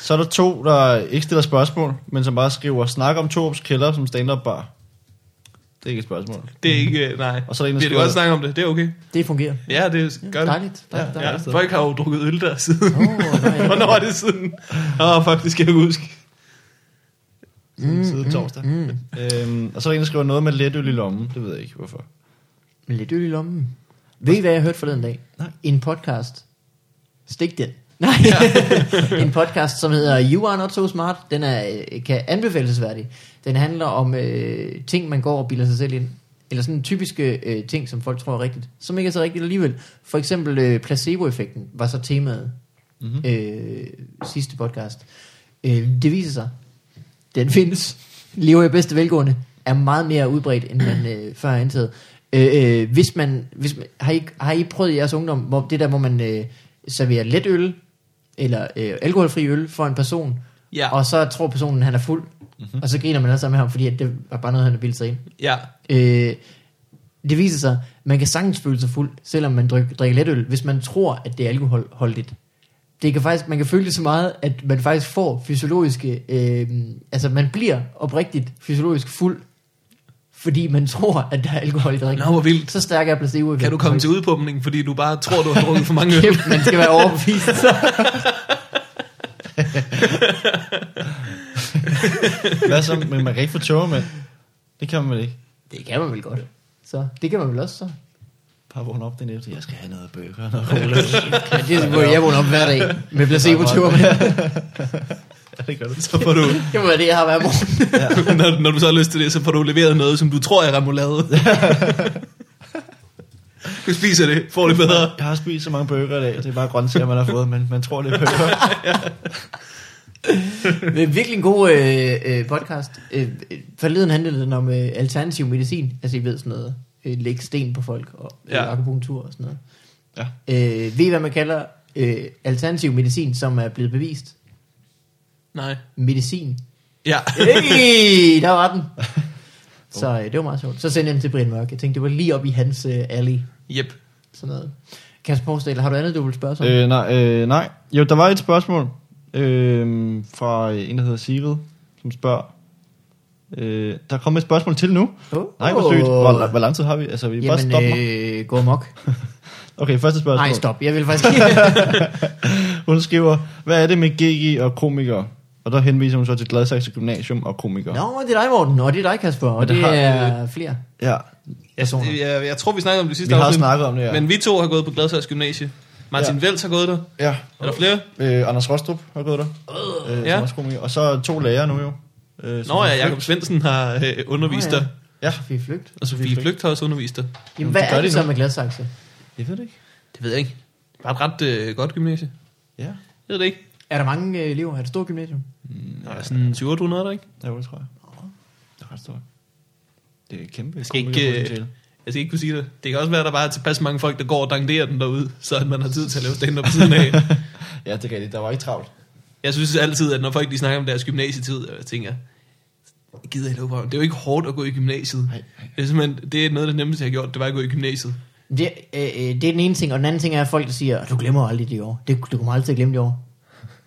S3: Så er der to, der ikke stiller spørgsmål, men som bare skriver, snak om Torps kælder som stand-up bar. Det er ikke et spørgsmål.
S1: Det er ikke, øh, nej.
S3: Og så er der en, der
S1: Vi kan
S3: skriver-
S1: godt snakke om det, det er okay.
S2: Det fungerer.
S1: Ja, det gør det.
S2: Dejligt. dejligt,
S1: Ja,
S2: dejligt.
S1: folk har jo drukket øl der siden.
S2: Åh,
S1: (laughs)
S2: nej.
S1: Hvornår er det siden? Åh, oh, fuck, det skal jeg ikke huske.
S3: Siden, siden torsdag. Øhm, og så er der en, der skriver noget med letøl i lommen. Det ved jeg ikke, hvorfor.
S2: Med lidt øl i lommen. Ved I, hvad jeg hørte forleden dag?
S3: Nej.
S2: En podcast. Stik den. Nej, en podcast, som hedder You Are Not So Smart. Den er, øh, kan anbefalesværdig. Den handler om øh, ting, man går og bilder sig selv ind. Eller sådan typiske øh, ting, som folk tror er rigtigt, som ikke er så rigtigt alligevel. For eksempel øh, placeboeffekten var så temaet. mm-hmm. øh, sidste podcast. Øh, det viser sig, den findes, lever i bedste velgående, er meget mere udbredt, end man øh, (clears throat) før antaget. Øh, øh, hvis man, hvis man, har, I, har I prøvet i jeres ungdom, hvor det der, hvor man øh, serverer let øl, eller øh, alkoholfri øl for en person,
S1: Ja.
S2: og så tror personen, han er fuld, mm-hmm. og så griner man alle sammen med ham, fordi at det var bare noget, han havde bildet sig ind.
S1: Ja.
S2: Øh, det viser sig, man kan sagtens føle sig fuld, selvom man drik, drikker letøl, hvis man tror, at det er alkoholholdigt. Det kan faktisk, man kan føle det så meget, at man faktisk får fysiologiske, øh, altså man bliver oprigtigt fysiologisk fuld, fordi man tror, at der er alkohol i drikken.
S1: Nå, hvor vildt.
S2: Så stærk er placebo.
S1: Kan du komme til udpumpning, fordi du bare tror, du har drukket for mange (laughs) øl?
S2: Kæft, man skal være overbevist.
S3: Hvad så? Men man kan ikke få tårer med. Det kan man vel ikke.
S2: Det kan man vel godt. Så det kan man vel også så.
S3: Bare vågne op den efter, jeg skal have noget bøger og noget cola.
S2: Ja, det er, hvor jeg vågner op hver dag med placebo-tur.
S3: ja, det gør det.
S1: Så får du,
S2: Det må være det, jeg har hver morgen.
S1: (laughs) når, når du så har lyst til det, så får du leveret noget, som du tror er remoulade. du spiser det, får det bedre.
S3: Jeg har spist så mange bøger i dag, det er bare grøntsager, man har fået, men man tror, det er bøger.
S2: Det er virkelig en god øh, øh, podcast. Øh, øh, forleden handlede den om øh, alternativ medicin. Altså, I ved sådan noget. Øh, lægge sten på folk og øh,
S1: Ja.
S2: ja. akupunktur og sådan noget.
S3: Ja.
S2: Øh, ved I, hvad man kalder øh, alternativ medicin, som er blevet bevist?
S1: Nej.
S2: Medicin.
S1: Ja.
S3: (laughs)
S2: Hey, der var den. Så øh, det var meget sjovt. Så sendte jeg den til Brian Mørk. Jeg tænkte, det var lige op i hans øh, alley.
S1: (laughs) Jep.
S2: Sådan noget. Kasper Porsdal, har du andet, du vil spørge om? Øh.
S3: Øh, nej, øh, nej. Jo, der var et spørgsmål øh, fra en, der hedder Sigrid, som spørger. Øh, der kommer et spørgsmål til nu.
S2: Oh.
S3: Nej, hvor sygt. Hvor, hvor lang tid har vi? Altså, vi bare
S2: Jamen,
S3: stoppe mig.
S2: øh, gå amok.
S3: Okay, første spørgsmål.
S2: Nej, stop. Jeg vil faktisk ikke.
S3: (laughs) Hun skriver, hvad er det med GG og komikere? Og der henviser hun så til Gladsaxe Gymnasium og komikere.
S2: Nå, det er dig, Morten, og det er dig, Kasper, og det,
S3: Men det
S2: det
S3: har-
S2: er flere
S3: Ja,
S2: personer.
S1: Det- Jeg, jeg tror, vi snakkede om det sidste
S3: vi har
S1: afsnit.
S3: snakket om det, ja.
S1: Men vi to har gået på Gladsags Gymnasie. Martin ja.
S3: Ja.
S1: Vels har gået der.
S3: ja.
S1: Er der flere?
S3: Øh, Anders Rostrup har gået der. Øh,
S1: Ja.
S3: ja. Også komiker. Og så to lærere nu jo. Øh, som
S1: Nå ja,
S3: har
S1: Jakob Svendsen har øh, undervist
S2: Nå ja.
S1: dig.
S3: Ja.
S2: Sofie Flygt.
S1: Og Sofie
S3: Flygt.
S1: Flygt har også undervist dig.
S2: Jamen, hvad
S3: det gør
S2: er det
S3: de
S2: så
S3: nu.
S2: med Gladsaxe?
S3: Jeg ved det ikke.
S1: Det ved jeg ikke. Det var et ret øh, godt gymnasie.
S3: Ja,
S1: Jeg ved det ikke.
S2: Er der mange øh, elever? Er det et stort gymnasium?
S1: Der er sådan 700, der ikke?
S3: det er det, tror jeg. Det er ret stort. Det er et kæmpe
S1: skal ikke, øh,
S3: komikerpotentiale.
S1: Jeg skal ikke kunne sige det. Det kan også være, at der bare er tilpas mange folk, der går og danderer den derude, så at man har tid til at lave stand-up på siden af.
S3: Ja, det er rigtigt. Der var ikke travlt.
S1: Jeg synes altid, at når folk de snakker om deres gymnasietid, og jeg tænker, gider jeg lukke røven? Det er jo ikke hårdt at gå i gymnasiet.
S3: Nej, nej.
S1: Det er simpelthen, det er noget af det nemmeste, jeg har gjort, det var at gå i gymnasiet.
S2: Det, øh, øh, det er den ene ting, og den anden ting er, at folk der siger, du glemmer aldrig de år. Det, du kommer aldrig til at glemme de år.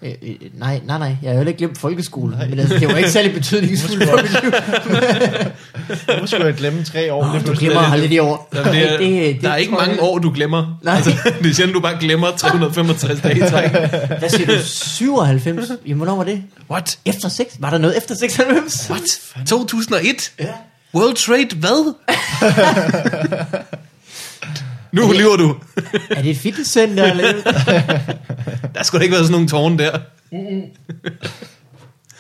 S2: Øh, øh, nej, nej, nej, jeg har heller ikke glemt folkeskolen, men altså, det var ikke særlig betydningsfuldt for mit liv.
S3: Nu skulle jeg glemme tre år.
S2: Nå,
S3: lige
S2: Du
S3: pludselig.
S2: glemmer
S1: det-
S2: aldrig de år.
S1: Der, det er,
S2: Ej, det-
S1: der er
S2: det
S1: ikke
S2: tror jeg
S1: mange år, du glemmer.
S2: Nej.
S1: Altså, (laughs) det er sjældent, du bare glemmer 365 dage i træk.
S2: Hvad siger du? 97? Jamen, hvornår var det?
S1: What?
S2: Efter 6? Var der noget efter 96?
S1: What? 2001?
S2: Ja.
S1: World Trade hvad? nu lever du.
S2: Er det et fitnesscenter? Eller?
S1: Der skulle da ikke være sådan nogle tårne der.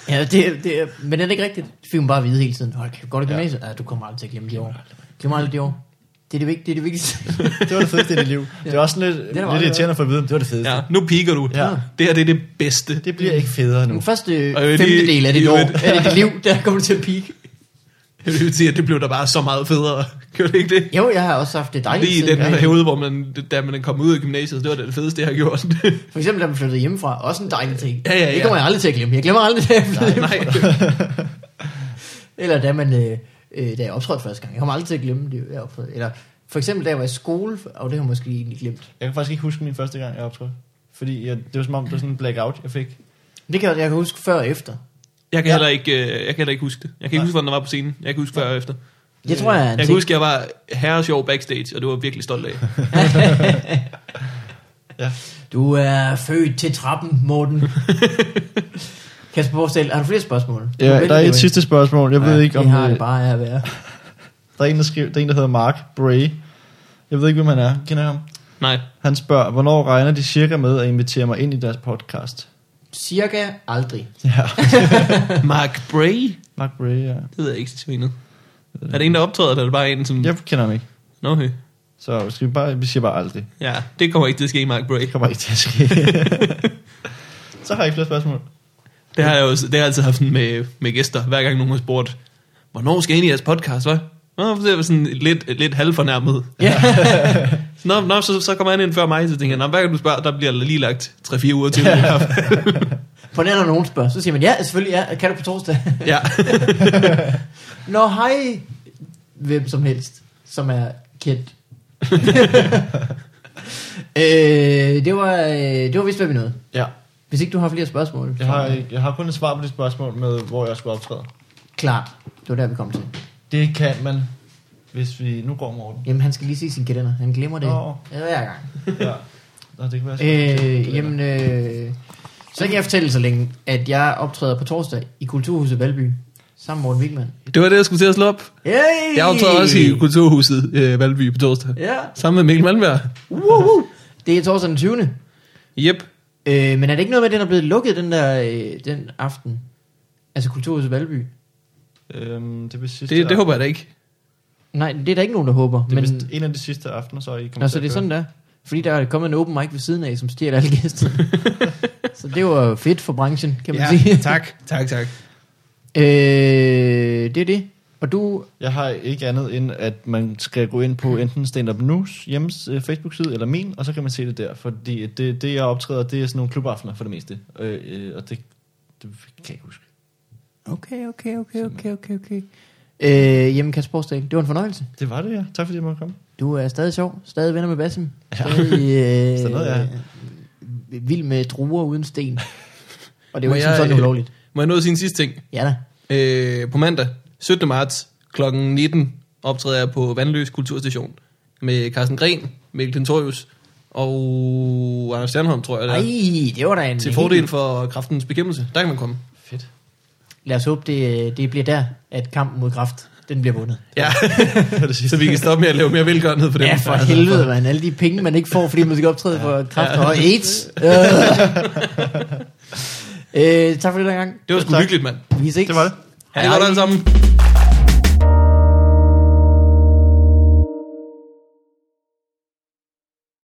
S2: Ja, det, det, er- men er det ikke rigtigt? Det fik man bare at vide hele tiden. Hold kæft, går du gymnasiet? Ja. ja, du kommer aldrig til at glemme de år. Glem aldrig de år. Det er det, vigt, det, er det vigtigste.
S1: (laughs)
S3: Det var det fedeste i dit liv. Det er også sådan lidt,
S2: da meget
S3: lidt
S2: godt.
S3: irriterende for at vide, om det var det fedeste.
S1: Ja,
S3: Ja.
S1: nu piker du.
S3: Ja.
S1: Det her det er det bedste.
S3: Det bliver ikke federe nu.
S2: Den første
S1: Og jo, det-
S2: femtedel af dit
S1: jo,
S2: år,
S1: det- (laughs)
S2: af dit liv, der kommer du til at peak.
S1: Det vil sige, at det blev da bare så meget federe. Gjorde det ikke det?
S2: Jo, jeg har også haft det dejligt.
S1: Lige i den
S2: siden jeg-
S1: periode, hvor man, da man er kommet ud af gymnasiet, det var da det fedeste, jeg har gjort. (laughs)
S2: For eksempel, da man flyttede hjemmefra. Også en dejlig ting.
S1: Ja, ja, ja.
S2: Det kommer jeg aldrig til at glemme. Jeg glemmer aldrig, da jeg flyttede
S1: Nej,
S2: Eller da man, øh, øh, da jeg optrådte første gang. Jeg kommer aldrig til at glemme det, jeg optrådte. Eller for eksempel, da jeg var i skole. Og det har jeg måske egentlig glemt.
S3: Jeg kan faktisk ikke huske min første gang, jeg optrådte. Fordi jeg, det var som om, det var sådan en blackout, jeg fik.
S2: Men Det kan jeg, jeg kan huske før og efter.
S1: jeg kan,
S3: Ja.
S1: heller ikke, øh, jeg kan heller ikke huske det. Jeg kan ikke
S3: Nej.
S1: huske, hvordan der var på scenen. Jeg kan huske før og efter.
S2: Jeg tror, jeg er en
S1: Jeg kan
S2: ting.
S1: huske, at jeg var herre sjov backstage, og det var jeg virkelig stolt af.
S2: Du er født til trappen, Morten. Kasper Borsdal, har du flere spørgsmål? Du
S3: Ja,
S2: vælger
S3: der er
S2: jo
S3: et sidste spørgsmål. Jeg ved
S2: Ja,
S3: ikke, om øh,
S2: det har det
S3: det,
S2: bare af at være.
S3: der, er en, der, skriver, der er en, der hedder Mark Bray. Jeg ved ikke, hvem han er. Kender I ham?
S1: Nej.
S3: Han spørger, hvornår regner de cirka med at invitere mig ind i deres podcast?
S2: Cirka aldrig.
S3: Ja,
S1: Mark Bray?
S3: (laughs) Mark Bray, ja.
S1: Det ved jeg ikke, svinet. Er det en, der optræder, eller er det bare en, som...
S3: Jeg kender ham ikke.
S1: Nå, okay.
S3: Så skal vi, bare, vi siger bare aldrig.
S1: Ja, det kommer ikke til at ske, Mark Bray.
S3: (laughs) Det kommer ikke til at ske. så har jeg ikke flere spørgsmål.
S1: Det har jeg også, det har jeg altid haft sådan med, med gæster, hver gang nogen har spurgt, hvornår skal jeg ind i jeres podcast, hva'? Nå, så er jeg sådan lidt, lidt halvfornærmet.
S2: (laughs) Ja.
S1: Så, Nå, nå så, så kommer han ind før mig, så tænker jeg, "Nå, hver gang du spørger, der bliver lige lagt 3-4 uger til.
S2: For når nogen spørger, så siger man, ja, selvfølgelig, ja, kan du på torsdag? (laughs)
S1: ja.
S2: Nå, hej, hvem som helst, som er
S3: (laughs)
S2: kendt. øh, det, var, øh, det var vist, hvad vi nåede.
S3: Ja.
S2: Hvis ikke du har flere spørgsmål.
S3: Jeg har, ikke- jeg har kun et svar på det spørgsmål med, hvor jeg skulle optræde.
S2: Klart, det var der, vi kom til.
S3: Det kan man, hvis vi... Nu går Morten.
S2: Jamen, han skal lige se sin kalender. Han glemmer det
S3: Nå.
S2: hver gang.
S3: Ja. Nå, Altså, det kan være
S2: Øh, jamen, øh, så kan jeg fortælle så længe, at jeg optræder på torsdag i Kulturhuset Valby sammen med Morten Wigman.
S1: (laughs) Det var det, jeg skulle til at slå op.
S2: Hey!
S1: Jeg optræder også i Kulturhuset øh, Valby på torsdag.
S2: Ja.
S1: Sammen med Mikkel Malmberg.
S2: Woohoo! Det er torsdag den 20. Øh,
S1: Jep.
S2: men er det ikke noget med, at den er blevet lukket den der øh, den aften? Altså Kulturhuset Valby? Øh,
S3: Øhm, det, blev sidste
S1: Det, det håber jeg da ikke.
S2: Nej, det er der ikke nogen, der håber.
S3: Det er
S2: men,
S3: vist en af de sidste aftener, så er I kommer
S2: Nå, så
S3: til
S2: det er
S3: at
S2: sådan der. Fordi der er kommet en open mic ved siden af, som stjæler alle
S3: (laughs)
S2: gæsterne. så det var jo fedt for branchen,
S1: (laughs)
S2: kan man sige.
S1: tak. Tak, tak.
S2: Øh, det er det. Og du,
S3: Jeg har ikke andet end, at man skal gå ind på enten Stand Up News hjemmes øh, Facebook-side eller min, og så kan man se det der. Fordi det, det jeg optræder, det er sådan nogle klubaftener for det meste. Øh, øh, og det, det kan jeg ikke huske.
S2: Okay, okay, okay, okay, okay, okay. Øh, jamen Kasper Borsdal, det var en fornøjelse.
S3: Det var det, ja. Tak fordi jeg måtte komme.
S2: Du er stadig sjov, stadig venner med Basim. Stadig, øh,
S3: Sådan noget, ja.
S2: øh, vild med druer uden sten. Og det er jo
S1: Må
S2: ikke
S1: jeg,
S2: som sådan
S1: øh,
S2: ulovligt.
S1: Må jeg nå at sige en sidste ting?
S2: Ja da.
S1: Øh, på mandag, 17. marts kl. 19, optræder jeg på Vandløs Kulturstation med Carsten Gren, Mikkel Tentorius og Anders Stjernholm, tror jeg det
S2: Ej,
S1: er.
S2: det var da en...
S1: Til fordel for kraftens bekæmpelse. Der kan man komme.
S3: Fedt.
S2: Lad os håbe, det, øh, det bliver der, at kampen mod kraft, den bliver vundet.
S1: Ja, (laughs) så vi kan stoppe med at lave mere velgørenhed for dem. Altså,
S2: Ja, for helvede, man. Alle de penge, man ikke får, fordi man skal optræde for kraft og AIDS. Øh. øh, tak for det der gang.
S1: Det var sgu
S3: Tak.
S2: Øh,
S1: hyggeligt, mand.
S2: Vi ses.
S3: Det var det.
S1: Ha' det godt
S2: Hej.
S1: alle sammen.